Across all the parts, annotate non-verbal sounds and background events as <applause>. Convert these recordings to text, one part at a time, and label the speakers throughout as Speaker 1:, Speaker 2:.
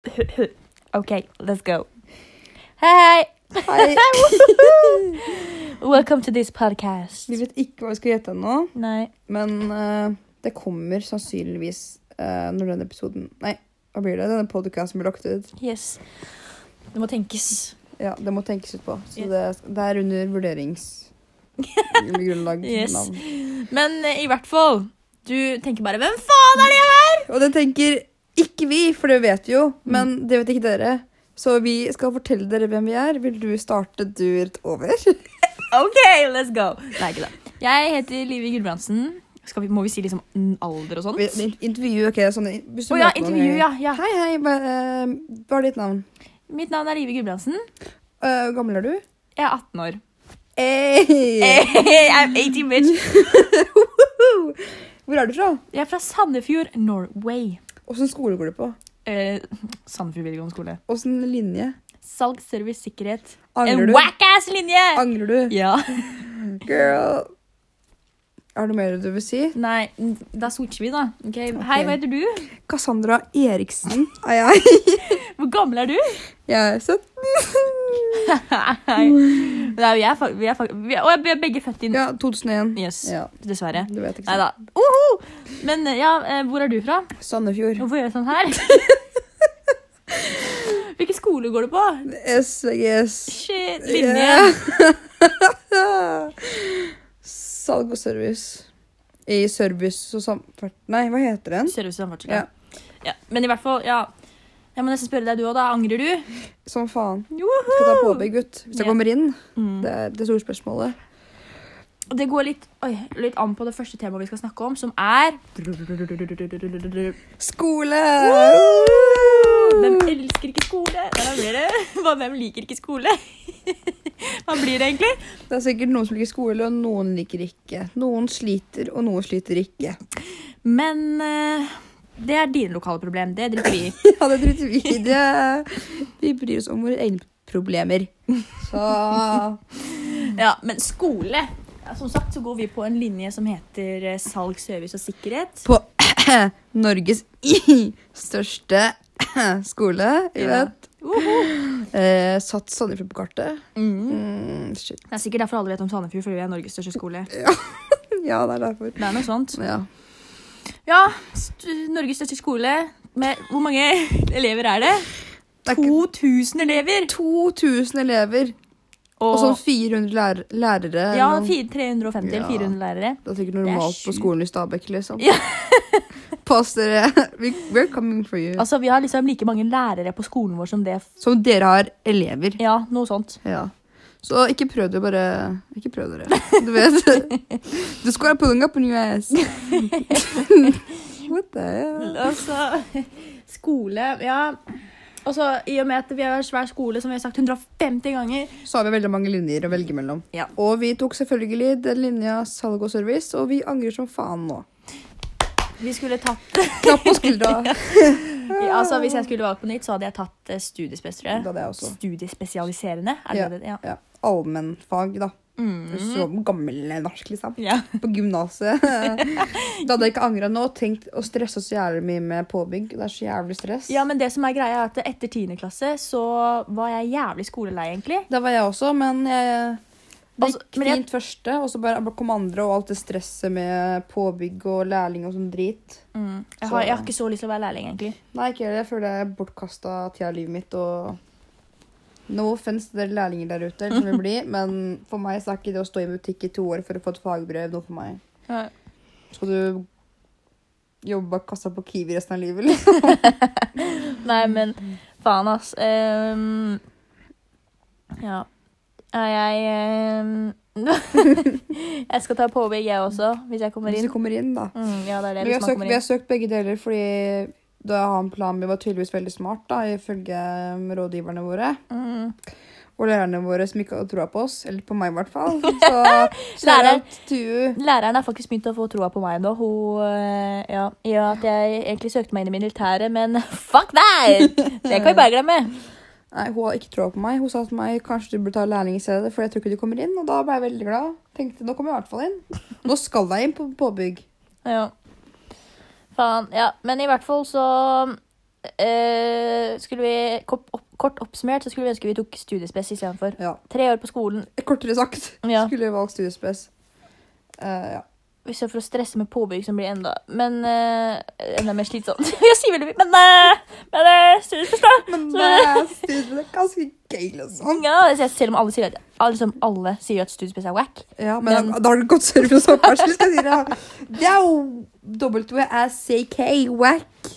Speaker 1: <laughs> okay, let's go. Hei! <laughs>
Speaker 2: Hei.
Speaker 1: Welcome to this podcast.
Speaker 2: Vi vet ikke hva vi skal gjette ennå,
Speaker 1: Nei.
Speaker 2: men eh, det kommer sannsynligvis eh, når denne episoden Nei, hva blir det? Denne podkasten blir lagt ut.
Speaker 1: Yes. Det må tenkes.
Speaker 2: Ja, det må tenkes ut på. Så
Speaker 1: Ja.
Speaker 2: det, det er under vurderingsgrunnlag.
Speaker 1: <laughs> Yes.
Speaker 2: navn.
Speaker 1: Men eh, i hvert fall, du tenker bare Hvem faen er det her?!
Speaker 2: Og det tenker ikke vi, for det vet vi jo,
Speaker 1: Mm.
Speaker 2: men det vet ikke dere. Så vi skal fortelle dere hvem vi er. Vil du starte du rett over?
Speaker 1: OK, let's go. Nei, ikke det. Jeg heter Livi Gulbrandsen. Skal vi, må vi si liksom n- alder og sånt? Å
Speaker 2: Intervju, OK. Sånn, hvis du
Speaker 1: ja,
Speaker 2: møter noen
Speaker 1: intervju,
Speaker 2: ganger.
Speaker 1: ja. ja.
Speaker 2: Hei, hei. Hva eh, hva er ditt navn?
Speaker 1: Mitt navn er Livi Gulbrandsen.
Speaker 2: Eh, Hvor gammel er du?
Speaker 1: Jeg er 18 år. Eh, <laughs>
Speaker 2: Hey.
Speaker 1: I'm 18, bitch.
Speaker 2: Hvor er du fra?
Speaker 1: Jeg er fra Sandefjord, Norway.
Speaker 2: Åssen skole går du på?
Speaker 1: Eh, Sandefjord videregående skole.
Speaker 2: Åssen linje?
Speaker 1: Salg, service, sikkerhet.
Speaker 2: Angrer
Speaker 1: En
Speaker 2: du?
Speaker 1: whack-ass linje!
Speaker 2: Angrer du?
Speaker 1: Ja.
Speaker 2: Girl. Er det noe mer du vil si?
Speaker 1: Nei, da switcher vi, da. Ok, Hei, hva heter du?
Speaker 2: Cassandra Eriksen er jeg.
Speaker 1: Hvor gammel
Speaker 2: <laughs>
Speaker 1: er du?
Speaker 2: Jeg er
Speaker 1: <laughs>
Speaker 2: 17.
Speaker 1: Nei, Nei, vi er, fa- vi er, fa- vi er, å, vi er begge født inn.
Speaker 2: Ja, 2001.
Speaker 1: Yes,
Speaker 2: Ja,
Speaker 1: dessverre.
Speaker 2: du vet ikke
Speaker 1: Nei
Speaker 2: sant.
Speaker 1: da. Uhu! Men eh, ja, eh, hvor er du fra?
Speaker 2: Sandefjord.
Speaker 1: Hvorfor gjør jeg sånn
Speaker 2: <laughs>
Speaker 1: her? Hvilken skole går du på?
Speaker 2: SGS.
Speaker 1: Shit,
Speaker 2: Ja.
Speaker 1: linje.
Speaker 2: Salg og service. I service og samferd... Nei, hva heter den?
Speaker 1: Service og samferdsel.
Speaker 2: Ja.
Speaker 1: Ja, Men i hvert fall, ja. Jeg må nesten spørre deg du òg, da. Angrer du?
Speaker 2: Som faen.
Speaker 1: Joho!
Speaker 2: Skal ta påbygg, gutt. Hvis jeg
Speaker 1: Ja.
Speaker 2: kommer inn.
Speaker 1: Mm.
Speaker 2: Det er det store spørsmålet.
Speaker 1: Og det går litt, oi, litt an på det første temaet vi skal snakke om, som er
Speaker 2: Skole!
Speaker 1: Hvem elsker ikke skole? Nei, da blir det <laughs> Hva, hvem liker ikke skole? <laughs> Hva blir det egentlig?
Speaker 2: Det er sikkert noen som liker skole, og noen liker ikke. Noen sliter, og noen sliter
Speaker 1: <laughs>
Speaker 2: ikke.
Speaker 1: Men eh, det er dine lokale problem. Det driter vi i.
Speaker 2: Ja, det driter vi i. Det- Vi bryr oss om våre egne problemer. Så
Speaker 1: Ja, men skole ja, Som sagt så går vi på en linje som heter eh, salg, service og sikkerhet.
Speaker 2: På <coughs> Norges største <coughs> skole, vi
Speaker 1: Ja.
Speaker 2: vet.
Speaker 1: Woho!
Speaker 2: Eh, satt Sandefjord på kartet.
Speaker 1: Mm.
Speaker 2: Mm, shit.
Speaker 1: Det er sikkert derfor alle vet om Sandefjord, fordi vi er Norges største skole.
Speaker 2: Ja, det er derfor.
Speaker 1: Det er noe sånt.
Speaker 2: Ja.
Speaker 1: Ja, st Norges største skole med Hvor mange <laughs> elever er det?
Speaker 2: Det er ikke
Speaker 1: 2000 elever!
Speaker 2: 2000 elever og sånn 400 lærer, lærere.
Speaker 1: ja,
Speaker 2: eller noe.
Speaker 1: 350 eller
Speaker 2: Ja.
Speaker 1: 400 lærere.
Speaker 2: Det er sikkert
Speaker 1: er
Speaker 2: normalt på
Speaker 1: sjukt.
Speaker 2: skolen i Stabekk, liksom.
Speaker 1: Ja.
Speaker 2: <laughs> Pass dere. <laughs> We- We're coming for you.
Speaker 1: Altså, Vi har liksom like mange lærere på skolen vår som det f-
Speaker 2: Som dere har elever.
Speaker 1: Ja, noe sånt.
Speaker 2: Ja. Så ikke prøv det, bare Ikke prøv dere. Du vet. <laughs> The square pulling up on your ass. <laughs> What the hell?
Speaker 1: Altså, skole Ja. Og så, I og med at vi har en svær skole, som vi har sagt 150 ganger
Speaker 2: Så har vi veldig mange linjer å velge mellom.
Speaker 1: Ja.
Speaker 2: Og vi tok selvfølgelig den linja salg og service, og vi angrer som faen nå.
Speaker 1: Vi skulle tatt
Speaker 2: Klapp på
Speaker 1: <laughs>
Speaker 2: skuldra.
Speaker 1: Altså, Hvis jeg skulle valgt på nytt, så hadde jeg tatt eh, studiespes, tror
Speaker 2: Da
Speaker 1: jeg.
Speaker 2: hadde jeg også.
Speaker 1: Studiespesialiserende? Er det
Speaker 2: Ja.
Speaker 1: det? Ja.
Speaker 2: Ja. Allmennfag, da.
Speaker 1: Mm.
Speaker 2: Som gammel norsk, liksom.
Speaker 1: ja.
Speaker 2: på
Speaker 1: <laughs>
Speaker 2: gymnaset. da hadde jeg ikke angra nå. Tenkt å stresse så jævlig mye med påbygg. Det er så jævlig stress.
Speaker 1: Ja, men det som er greia er at Etter 10. klasse så var jeg jævlig skolelei, egentlig.
Speaker 2: Det var jeg også, men jeg det
Speaker 1: Altså,
Speaker 2: gikk
Speaker 1: men jeg-
Speaker 2: fint første, og så bare bare kom andre og alt det stresset med påbygg og lærling og sånn drit.
Speaker 1: Jeg, har, jeg har ikke så lyst til å være lærling, egentlig.
Speaker 2: Nei, ikke heller. Jeg føler jeg bortkasta tida i livet mitt og No offense til dere lærlinger der ute, eller som
Speaker 1: <laughs>
Speaker 2: vil bli, men for meg så er ikke det å stå i butikk i to år for å få et fagbrev noe for meg. Skal du jobbe bak kassa på Kiwi resten av livet, eller?
Speaker 1: Nei, men faen, ass. Ehm, ja. Ja, Jeg ehm, <laughs> Jeg skal ta påbygg, jeg også, hvis jeg kommer
Speaker 2: Hvis
Speaker 1: inn.
Speaker 2: du kommer inn, da.
Speaker 1: Mm, ja, det er det,
Speaker 2: Men vi
Speaker 1: hvis man
Speaker 2: har, søkt, vi
Speaker 1: kommer
Speaker 2: har
Speaker 1: inn.
Speaker 2: søkt begge deler fordi da jeg har en plan vi var tydeligvis veldig smart, da, ifølge um, rådgiverne våre.
Speaker 1: Mm.
Speaker 2: Og lærerne våre som ikke hadde troa på oss. Eller på meg, i hvert
Speaker 1: <laughs>
Speaker 2: fall. Så
Speaker 1: Lærer.
Speaker 2: lærer Tue.
Speaker 1: Læreren har faktisk begynt å få troa på meg nå. Hun, eh, ja, I og med at jeg egentlig søkte meg inn i militæret, men <laughs> fuck deg! Det kan vi bare glemme.
Speaker 2: Nei, hun har ikke troa på meg. Hun sa til meg kanskje du burde ta lærling i stedet, for jeg tror ikke du kommer inn. Og da ble jeg veldig glad. Tenkte nå kommer jeg i hvert fall inn. Nå skal jeg inn på påbygg.
Speaker 1: Ja. Faen. Ja, men i hvert fall så eh, skulle vi, kort, opp, kort oppsummert så skulle vi ønske vi tok studiespes istedenfor.
Speaker 2: Ja.
Speaker 1: Tre år på skolen
Speaker 2: Kortere sagt.
Speaker 1: Ja.
Speaker 2: Skulle jeg valgt studiespes. Eh, ja.
Speaker 1: i stedet for å stresse med påbygg som blir enda Men eh, enda mer slitsomt. <laughs> jeg sier veldig mye, men, eh, men eh, studiespes, da!
Speaker 2: Men
Speaker 1: Så-
Speaker 2: det er studiespes det er ganske gøy, liksom.
Speaker 1: Ja, altså, jeg ser- selv om alle sier at, alle, som alle sier at studiespes er wack.
Speaker 2: Ja, men,
Speaker 1: Men-
Speaker 2: da- da har du godt service og oppførsel, skal jeg si
Speaker 1: <laughs>
Speaker 2: det. Det er jo W-A-C-K, wack.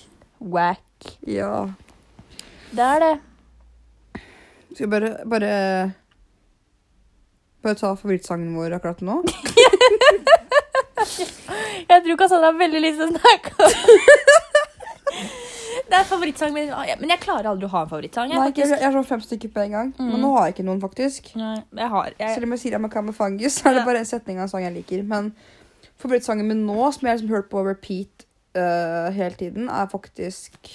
Speaker 1: Wack.
Speaker 2: Ja.
Speaker 1: Det er det.
Speaker 2: Skal vi bare, bare Bare ta favorittsangen vår akkurat nå?
Speaker 1: <laughs> Jeg tror Kassandra har veldig lyst til å snakke <laughs> om Det er favorittsangen min. Ah, ja, Men jeg klarer aldri å ha en favorittsang. Jeg,
Speaker 2: Nei, ikke-
Speaker 1: faktisk.
Speaker 2: jeg har sånn fem stykker på en gang.
Speaker 1: Mm.
Speaker 2: Men nå har jeg ikke noen, faktisk.
Speaker 1: Nei, jeg har jeg,
Speaker 2: Selv om jeg sier Amakam med Fungus, så er
Speaker 1: Ja.
Speaker 2: det bare en setning av en sang jeg liker. Men favorittsangen min nå, som jeg har liksom hørt på repeat øh, hele tiden, er faktisk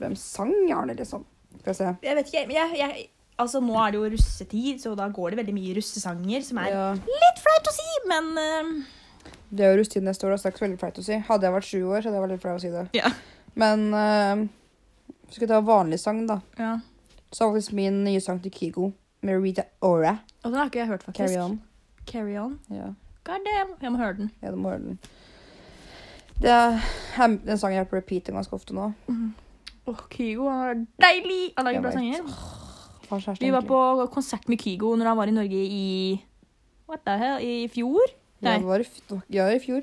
Speaker 2: Hvem sang er det, liksom? Skal vi se.
Speaker 1: jeg vet ikke, men jeg, jeg Altså, nå er det jo russetid, så da går det veldig mye russesanger som er
Speaker 2: Ja.
Speaker 1: litt flaut å si, men eh,
Speaker 2: Det er jo rusttid neste år, og straks veldig flaut å si. Hadde jeg vært sju år, så hadde jeg vært litt flau å si det.
Speaker 1: Ja.
Speaker 2: Men øh, skal vi ta vanlig sang, da,
Speaker 1: ja.
Speaker 2: så er faktisk min nye sang til Kygo med Rita Ora.
Speaker 1: Og den har ikke jeg hørt, faktisk.
Speaker 2: Carry on.
Speaker 1: Carry on.
Speaker 2: Ja.
Speaker 1: God damn. Jeg må høre den.
Speaker 2: Ja, du må høre den. Det er hem- den sangen jeg har på repeat ganske ofte nå.
Speaker 1: Åh, Kygo han er deilig! Han lager
Speaker 2: Jeg
Speaker 1: bra
Speaker 2: vet.
Speaker 1: sanger.
Speaker 2: Faen, kjæresten,
Speaker 1: Vi var
Speaker 2: egentlig.
Speaker 1: på konsert med Kygo når han var i Norge i What the hell? I fjor?
Speaker 2: Ja,
Speaker 1: Nei.
Speaker 2: det var i, f- det var- ja, i fjor.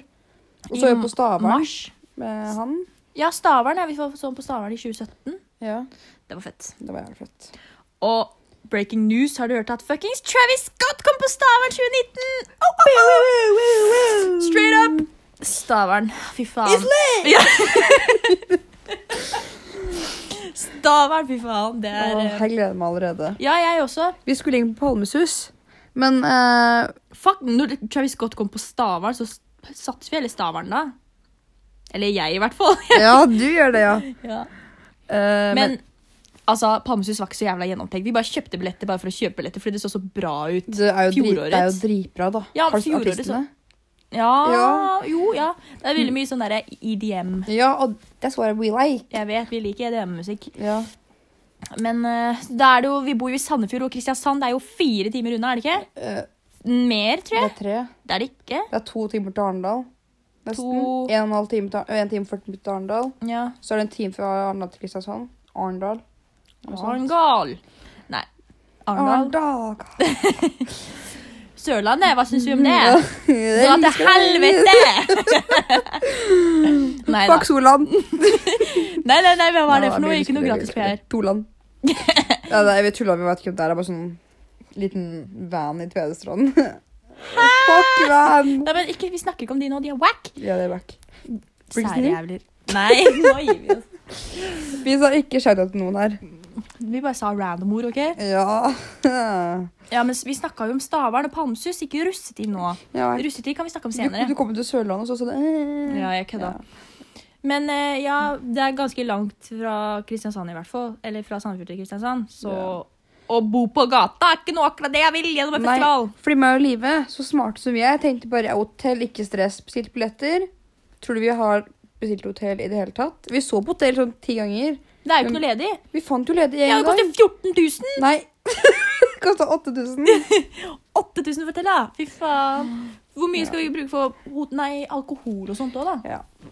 Speaker 2: Og
Speaker 1: I
Speaker 2: så var vi på Stavern
Speaker 1: Mars.
Speaker 2: med han.
Speaker 1: Ja, Stavern. Ja, vi var- så han på Stavern i 2017.
Speaker 2: Ja,
Speaker 1: Det var fett.
Speaker 2: det var jævlig fett.
Speaker 1: Og breaking news, har du hørt at fuckings Travis Scott kom på Stavern 2019? Oh, oh, oh. Straight up! Stavern. Fy faen. Ja.
Speaker 2: <laughs>
Speaker 1: Stavern, fy faen. Det er
Speaker 2: Åh,
Speaker 1: eh,
Speaker 2: jeg gleder meg allerede.
Speaker 1: Ja, jeg også.
Speaker 2: Vi skulle inn på Palmesus, men eh,
Speaker 1: Fuck, når Travis Scott kom på Stavern, så s- satt vi hele Stavern da. Eller jeg, i hvert fall. <laughs>
Speaker 2: <laughs> Ja, du gjør det, ja. Eh, men,
Speaker 1: Men altså, Palmesus var ikke så jævla gjennomtenkt. Vi bare kjøpte billetter bare for å kjøpe billetter fordi det så så bra ut.
Speaker 2: det er jo, drit,
Speaker 1: fjorårets-
Speaker 2: det er jo dritbra, da.
Speaker 1: Ja,
Speaker 2: Har du sett
Speaker 1: fjorårets-
Speaker 2: artistene?
Speaker 1: Ja,
Speaker 2: Ja.
Speaker 1: jo, ja. Det er veldig mye sånn derre EDM.
Speaker 2: Ja, og that's what we like.
Speaker 1: Jeg vet, vi liker E EDM-musikk.
Speaker 2: Ja.
Speaker 1: Men eh, da er det jo, vi bor jo i Sandefjord og Kristiansand. Det er jo fire timer unna, er det ikke?
Speaker 2: eh,
Speaker 1: Mer, tror
Speaker 2: det
Speaker 1: jeg.
Speaker 2: er tre.
Speaker 1: Det er det ikke.
Speaker 2: Det er to timer til Arendal. Nesten.
Speaker 1: To-
Speaker 2: En og en halv time til, ø, en time og 40 minutter til Arendal.
Speaker 1: Ja.
Speaker 2: Så er det en time fra Arendal til Kristiansand. Arendal. Noe sånt.
Speaker 1: Arendal. Nei. Arendal.
Speaker 2: Arendal. Mm.
Speaker 1: Sørlandet, hva syns vi om
Speaker 2: <laughs>
Speaker 1: det?
Speaker 2: Dra
Speaker 1: Dra til helvete! <laughs> nei da.
Speaker 2: Fuck Solan.
Speaker 1: Nei, nei, nei, hva var det
Speaker 2: Nei,
Speaker 1: for noe?
Speaker 2: jeg
Speaker 1: Ikke noe
Speaker 2: skulle-
Speaker 1: gratis PR. <laughs>
Speaker 2: Tolan. ja, nei, vi tulla, vi vet ikke om det er. Det er bare sånn liten van i Tvedestrand. Fuck van!
Speaker 1: Nei, men ikke, Vi snakker ikke om de nå, de er wack!
Speaker 2: Ja, det er back. Blir det snill?
Speaker 1: Særjævler. Nei, <laughs> nå gir vi oss.
Speaker 2: Vi sa ikke shout-out til noen her.
Speaker 1: Vi bare sa random ord, OK?
Speaker 2: Ja.
Speaker 1: Ja, men Vi snakka jo om Stavern og Palmsus, ikke russetid nå.
Speaker 2: ja jeg-
Speaker 1: Russetid kan vi snakke om
Speaker 2: du, du
Speaker 1: senere.
Speaker 2: kom jo til Sørlandet, og så sa du eh.
Speaker 1: Ja, jeg kødda. Men eh, ja, det er ganske langt fra Kristiansand, i hvert fall. Eller fra Sandefjord til Kristiansand. Så
Speaker 2: Ja.
Speaker 1: å bo på gata er ikke noe akkurat det jeg vil gjennom en
Speaker 2: Nei.
Speaker 1: festival.
Speaker 2: Fordi meg og Live, så smarte som vi er, tenkte bare ja, hotell, ikke stress, bestilt billetter. Tror du vi har bestilt hotell i det hele tatt? Vi så på hotell sånn ti ganger.
Speaker 1: Det er jo ikke noe ledig.
Speaker 2: Vi fant jo ledig
Speaker 1: Ja,
Speaker 2: en
Speaker 1: det
Speaker 2: dag.
Speaker 1: koster 14 000!
Speaker 2: Nei. <laughs> det kosta 8000.
Speaker 1: 8000 for hotellet! da. Fy faen. Hvor mye skal vi bruke for ho- nei, alkohol og sånt òg, da?
Speaker 2: Ja.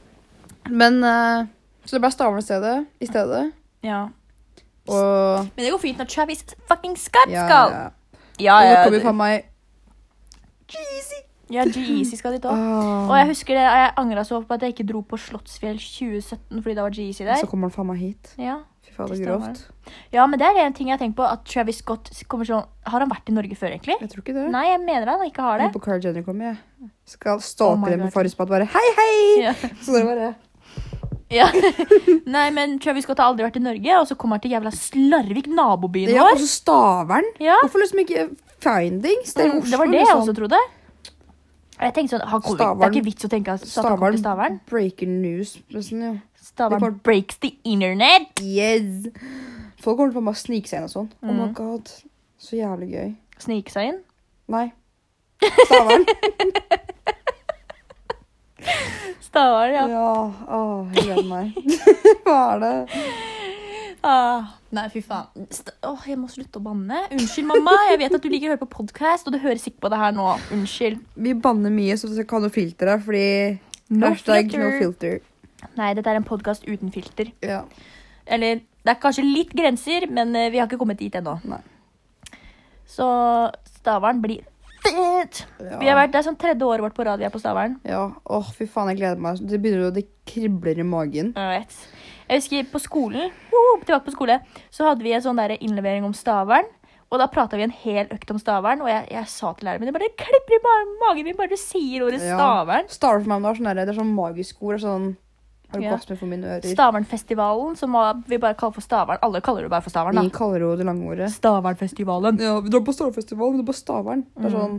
Speaker 2: Men eh, Så det ble Stavern i stedet. I stedet.
Speaker 1: Ja.
Speaker 2: Og
Speaker 1: Men det går fint når Travis fucking Scott
Speaker 2: ja,
Speaker 1: skal.
Speaker 2: ja.
Speaker 1: Ja, Ah,
Speaker 2: Og nå
Speaker 1: ja.
Speaker 2: kommer faen meg
Speaker 1: ja G-Easy skal dit òg.
Speaker 2: ah,
Speaker 1: Og jeg husker det, jeg angra så på at jeg ikke dro på Slottsfjell 2017 fordi det var G-Easy
Speaker 2: Så
Speaker 1: der.
Speaker 2: kommer han faen meg hit.
Speaker 1: Ja.
Speaker 2: Fy faen, det
Speaker 1: Til
Speaker 2: er grovt.
Speaker 1: ja, men det er en ting jeg har tenkt på, at Travis Scott kommer sånn Har han vært i Norge før, egentlig?
Speaker 2: Jeg tror ikke det.
Speaker 1: Nei, jeg mener han ikke har det.
Speaker 2: Jeg på Cara Jenner kommer, jeg. Skal
Speaker 1: Oh my
Speaker 2: stalke dem
Speaker 1: God.
Speaker 2: på Farris på at bare Hei, hei!
Speaker 1: Ja.
Speaker 2: Så det var det.
Speaker 1: <laughs> Ja. Nei, men Travis Scott har aldri vært i Norge, og så kommer han til jævla Slarvik, nabobyen
Speaker 2: Ja, og
Speaker 1: vår.
Speaker 2: så Stavern.
Speaker 1: Ja.
Speaker 2: Hvorfor liksom ikke Findings? Det er jo
Speaker 1: Ah. Mm,
Speaker 2: Oslo,
Speaker 1: Det var det jeg
Speaker 2: liksom.
Speaker 1: også trodde. Jeg tenkte sånn, han kommer, Det
Speaker 2: Stavern.
Speaker 1: er ikke vits å tenke at at han kommer
Speaker 2: Stavern.
Speaker 1: til Stavern.
Speaker 2: Breaker news. Nesten, ja.
Speaker 1: Stavern
Speaker 2: Det kommer-
Speaker 1: breaks the internet.
Speaker 2: Yes! Folk kommer til å bare snike seg inn og sånn. Oh
Speaker 1: Mm.
Speaker 2: my god. Så jævlig gøy.
Speaker 1: Snike seg inn.
Speaker 2: Nei. Stavern.
Speaker 1: Stavanger, ja.
Speaker 2: Ja. Åh, jeg gleder meg. <laughs> Hva er det?
Speaker 1: Ah, nei, fy faen. St Åh, jeg må slutte å banne. Unnskyld, mamma. Jeg vet at du liker å høre på podkast, og du hører sikkert på det her nå. Unnskyld.
Speaker 2: Vi banner mye, så vi kan ha noe filter her, fordi
Speaker 1: No
Speaker 2: Hashtag
Speaker 1: filter.
Speaker 2: no filter.
Speaker 1: Nei, dette er en podkast uten filter.
Speaker 2: Ja.
Speaker 1: Eller det er kanskje litt grenser, men eh, vi har ikke kommet dit ennå.
Speaker 2: Nei.
Speaker 1: Så Stavern blir fett!
Speaker 2: Ja.
Speaker 1: Vi har vært, det er sånn tredje året vårt på rad vi er på Stavern.
Speaker 2: Ja. Åh, fy faen, jeg gleder meg. Det begynner å Det kribler i magen.
Speaker 1: Jeg vet. Jeg husker på skolen, Woho, tilbake på skole, så hadde vi en sånn der innlevering om Stavern. Og da prata vi en hel økt om Stavern, og jeg, jeg sa til læreren min det bare klipper i ma- magen min bare du sier ordet
Speaker 2: Ja.
Speaker 1: Stavern.
Speaker 2: Starter for meg om det er sånn der, det er sånn magisk ord. det er Sånn orgasme for mine ører.
Speaker 1: Stavernfestivalen, som var- vi bare kaller for Stavern. Alle kaller det bare for Stavern,
Speaker 2: Ingen
Speaker 1: da.
Speaker 2: kaller det jo det lange ordet.
Speaker 1: Stavernfestivalen.
Speaker 2: Ja, vi drar på Stavernfestival, men det er på Stavern. Det er sånn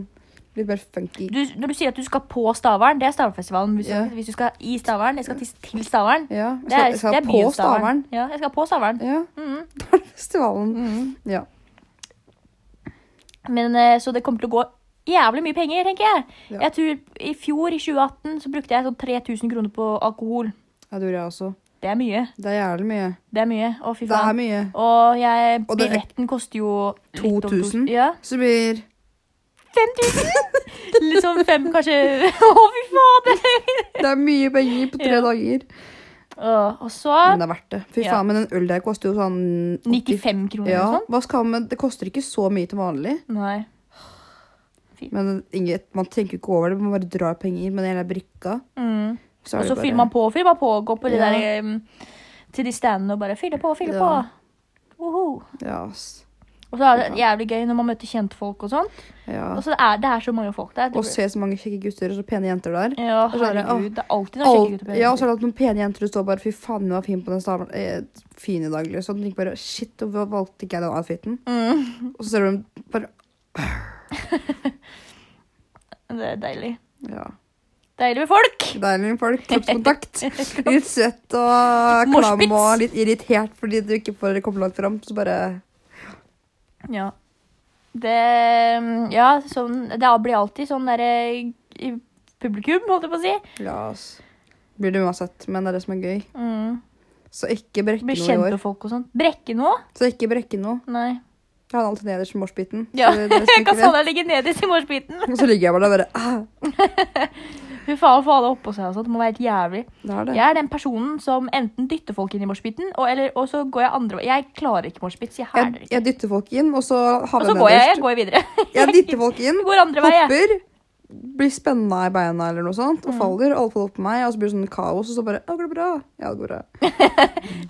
Speaker 2: litt mer funky.
Speaker 1: Du, når du sier at du skal på Stavern, det er Stavernfestivalen. Hvis, du-
Speaker 2: Ja.
Speaker 1: hvis du skal i Stavern, jeg skal til, til Stavern.
Speaker 2: Ja, jeg
Speaker 1: Det
Speaker 2: skal,
Speaker 1: er,
Speaker 2: jeg skal
Speaker 1: det er
Speaker 2: på
Speaker 1: byen
Speaker 2: Stavern.
Speaker 1: Ja, jeg skal på Stavern.
Speaker 2: Ja,
Speaker 1: Mhm.
Speaker 2: da er det festivalen. Ja.
Speaker 1: Men, eh, så det kommer til å gå jævlig mye penger, tenker jeg.
Speaker 2: Ja.
Speaker 1: Jeg tror I fjor, i 2018, så brukte jeg sånn 3000 kroner på alkohol.
Speaker 2: ja, det gjorde jeg også.
Speaker 1: Det er mye.
Speaker 2: Det er jævlig mye.
Speaker 1: Det er mye. Å, fy
Speaker 2: Det er
Speaker 1: faen.
Speaker 2: mye.
Speaker 1: Og jeg,
Speaker 2: Og det er-
Speaker 1: billetten koster jo litt over
Speaker 2: 2000?
Speaker 1: Ja.
Speaker 2: Så det blir
Speaker 1: 5000! Litt sånn fem, kanskje. <laughs> Å, fy faen!
Speaker 2: Det er mye penger på tre
Speaker 1: Ja.
Speaker 2: dager.
Speaker 1: Å, Og
Speaker 2: Men
Speaker 1: så
Speaker 2: det er verdt det. Fy
Speaker 1: Ja.
Speaker 2: faen, men en øl der koster jo sånn 80
Speaker 1: 95 kroner
Speaker 2: Ja,
Speaker 1: eller sånn.
Speaker 2: hva skal man, Det koster ikke så mye til vanlig.
Speaker 1: Nei.
Speaker 2: Men ingen, Man tenker ikke over det, man bare drar penger. Men hele brikka
Speaker 1: Mm.
Speaker 2: så er
Speaker 1: Og
Speaker 2: det
Speaker 1: så
Speaker 2: bare-
Speaker 1: fyller man på og fyller man på og går på ehm, de
Speaker 2: Ja.
Speaker 1: der, em, til de standene og bare fyller på og fyller
Speaker 2: Ja.
Speaker 1: på. Woho.
Speaker 2: Ja, ass.
Speaker 1: Og så er det jævlig gøy når man møter kjentfolk og sånn.
Speaker 2: Ja.
Speaker 1: Og så er det er så mange folk der. Det
Speaker 2: Og
Speaker 1: blir-
Speaker 2: se så mange kjekke gutter og så pene jenter der.
Speaker 1: ja,
Speaker 2: så er det-
Speaker 1: herregud. Det er alltid noen
Speaker 2: Alt,
Speaker 1: kjekke gutter på
Speaker 2: ja, og
Speaker 1: jenter.
Speaker 2: så er det at noen pene jenter du står bare Fy faen, hun var fin på den stavlen. Eh, fin i dag, liksom. Du tenker bare Shit, hvorfor valgte ikke jeg den outfiten?
Speaker 1: Mm,
Speaker 2: Og så ser du dem bare
Speaker 1: det er deilig.
Speaker 2: Ja.
Speaker 1: Deilig med folk!
Speaker 2: Deilig folk.
Speaker 1: <laughs>
Speaker 2: Kroppskontakt. Litt svett og
Speaker 1: Moshpits.
Speaker 2: klam og litt irritert fordi du ikke får kommet langt fram. Så bare
Speaker 1: Ja. Det em, Ja, sånn Det blir alltid sånn derre i publikum, holdt jeg på å si.
Speaker 2: Ja, ass. Blir det uansett, men det er det som er gøy.
Speaker 1: Mm.
Speaker 2: Så ikke brekke
Speaker 1: Blir
Speaker 2: noe i
Speaker 1: kjent
Speaker 2: år.
Speaker 1: med folk og sånn. Brekke noe?
Speaker 2: Så ikke brekke noe.
Speaker 1: Nei.
Speaker 2: Jeg hadde alltid nederst i morsbiten.
Speaker 1: Ja,
Speaker 2: så dere
Speaker 1: <laughs>
Speaker 2: som
Speaker 1: jeg
Speaker 2: ikke
Speaker 1: kan
Speaker 2: vet.
Speaker 1: sånn jeg ligger nederst i morsbiten.
Speaker 2: Og så ligger jeg bare der bare ah,
Speaker 1: Fy faen, å få alle oppå seg og sånn. Det må være helt jævlig.
Speaker 2: Det er det.
Speaker 1: Jeg er den personen som enten dytter folk inn i moshpiten, og, eller- og så går jeg andre veien. Jeg klarer ikke moshpit, så jeg hæler
Speaker 2: Jeg,
Speaker 1: ikke.
Speaker 2: jeg dytter folk inn, og så
Speaker 1: Og
Speaker 2: havner
Speaker 1: så
Speaker 2: jeg
Speaker 1: går jeg, jeg
Speaker 2: nederst.
Speaker 1: går videre. <laughs>
Speaker 2: Jeg dytter folk inn,
Speaker 1: Jeg <laughs> går andre veien. jeg. Mm.
Speaker 2: hopper, blir spenna i beina eller noe sånt, og faller. og Alle faller på meg, og så blir det sånn kaos, og så bare Ja, går det bra? Ja, det går bra.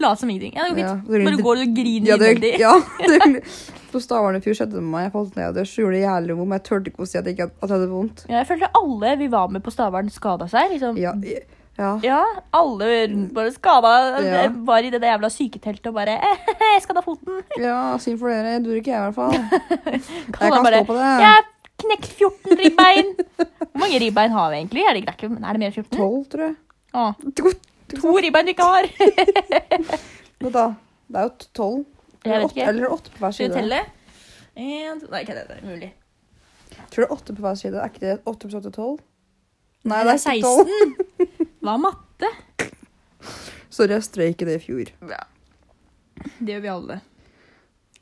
Speaker 1: Lat som ingenting. Ja, det går
Speaker 2: Ja,
Speaker 1: fint.
Speaker 2: det er
Speaker 1: Bare
Speaker 2: litt-
Speaker 1: går og griner
Speaker 2: Ja, det,
Speaker 1: innvendig.
Speaker 2: ja, det, <laughs> på Stavern i fjor skjedde det med meg. Jeg falt nederst, gjorde det jævlig vondt, men jeg turte ikke å si at jeg, ikke, at jeg hadde vondt.
Speaker 1: Ja, jeg følte alle vi var med på Stavern, skada seg. liksom.
Speaker 2: Ja, i- ja.
Speaker 1: Ja, alle rundt bare skada.
Speaker 2: Ja.
Speaker 1: Var i det der jævla syketeltet og bare <laughs> eh, Jeg skada foten.
Speaker 2: ja synd for dere. Jeg durer ikke, jeg, i hvert fall. Jeg
Speaker 1: han
Speaker 2: kan
Speaker 1: bare,
Speaker 2: stå på det.
Speaker 1: Jeg knekt 14 ribbein. Hvor mange ribbein har vi egentlig? Er det, ikke- det er ikke- er det mer enn 14?
Speaker 2: Tolv, tror jeg.
Speaker 1: Å,
Speaker 2: To-
Speaker 1: to ribbein du ikke har.
Speaker 2: Vent da. Det er jo tolv.
Speaker 1: Jeg
Speaker 2: Eller
Speaker 1: vet
Speaker 2: åtte,
Speaker 1: ikke.
Speaker 2: eller åtte på hver
Speaker 1: Skal vi
Speaker 2: side.
Speaker 1: telle? En, to, nei, ikke det, det er mulig.
Speaker 2: Tror det er åtte på hver side. Er ikke det åtte pluss åtte tolv? Nei,
Speaker 1: Det
Speaker 2: det
Speaker 1: er
Speaker 2: er ikke tolv.
Speaker 1: 16. Hva er matte?
Speaker 2: <laughs> Sorry, jeg strøy ikke det i fjor.
Speaker 1: Det gjør vi alle.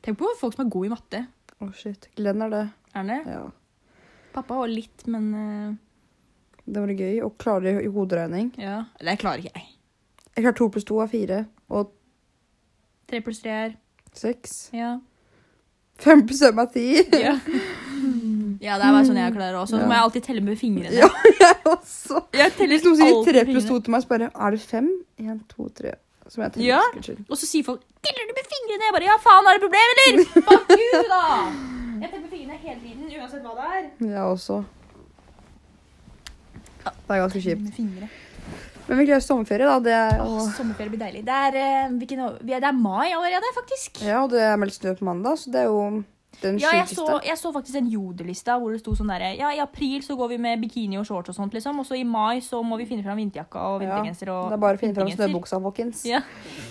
Speaker 1: Tenk på folk som er gode i matte.
Speaker 2: Å, shit. Glenn er det.
Speaker 1: Erne?
Speaker 2: Ja.
Speaker 1: Pappa var litt, men eh,
Speaker 2: Det var gøy. Og klarer i hoderegning.
Speaker 1: ja. Det klarer ikke jeg.
Speaker 2: Jeg klarer to pluss to er fire. Og
Speaker 1: Tre pluss tre er
Speaker 2: seks.
Speaker 1: ja.
Speaker 2: Fem pluss fem er ti.
Speaker 1: ja. Ja, det er bare sånn jeg klarer også.
Speaker 2: Ja.
Speaker 1: Så må jeg alltid telle med fingrene.
Speaker 2: Ja, <laughs> jeg også.
Speaker 1: Jeg teller
Speaker 2: Hvis noen sier
Speaker 1: alltid
Speaker 2: tre pluss to
Speaker 1: fingrene.
Speaker 2: til meg, så bare Er det fem? En, to, tre. Som jeg teller.
Speaker 1: Ja.
Speaker 2: Unnskyld.
Speaker 1: Og så sier folk 'Teller du med fingrene?' Jeg bare 'Ja, faen, har du problem, eller?' Fuck you, da! Jeg teller med fingrene hele tiden, uansett hva det er.
Speaker 2: Jeg også. Det er ganske kjipt.
Speaker 1: Med fingre.
Speaker 2: Men vi gleder oss til sommerferie, da. Det er,
Speaker 1: Åh,
Speaker 2: og,
Speaker 1: sommerferie blir deilig. Det er, eh, hvilken, år- vi er, det er mai allerede, faktisk.
Speaker 2: ja, og det er meldt snø på mandag, så det er jo den
Speaker 1: Ja, jeg
Speaker 2: sjukeste.
Speaker 1: så, jeg så faktisk en jodelista hvor det sto sånn derre Ja, i april så går vi med bikini og shorts og sånt, liksom. Og så i mai så må vi finne fram vinterjakka og
Speaker 2: Ja,
Speaker 1: vintergenser og
Speaker 2: Det er bare å finne fram
Speaker 1: vintergenser.
Speaker 2: snøbuksa, folkens.
Speaker 1: Ja.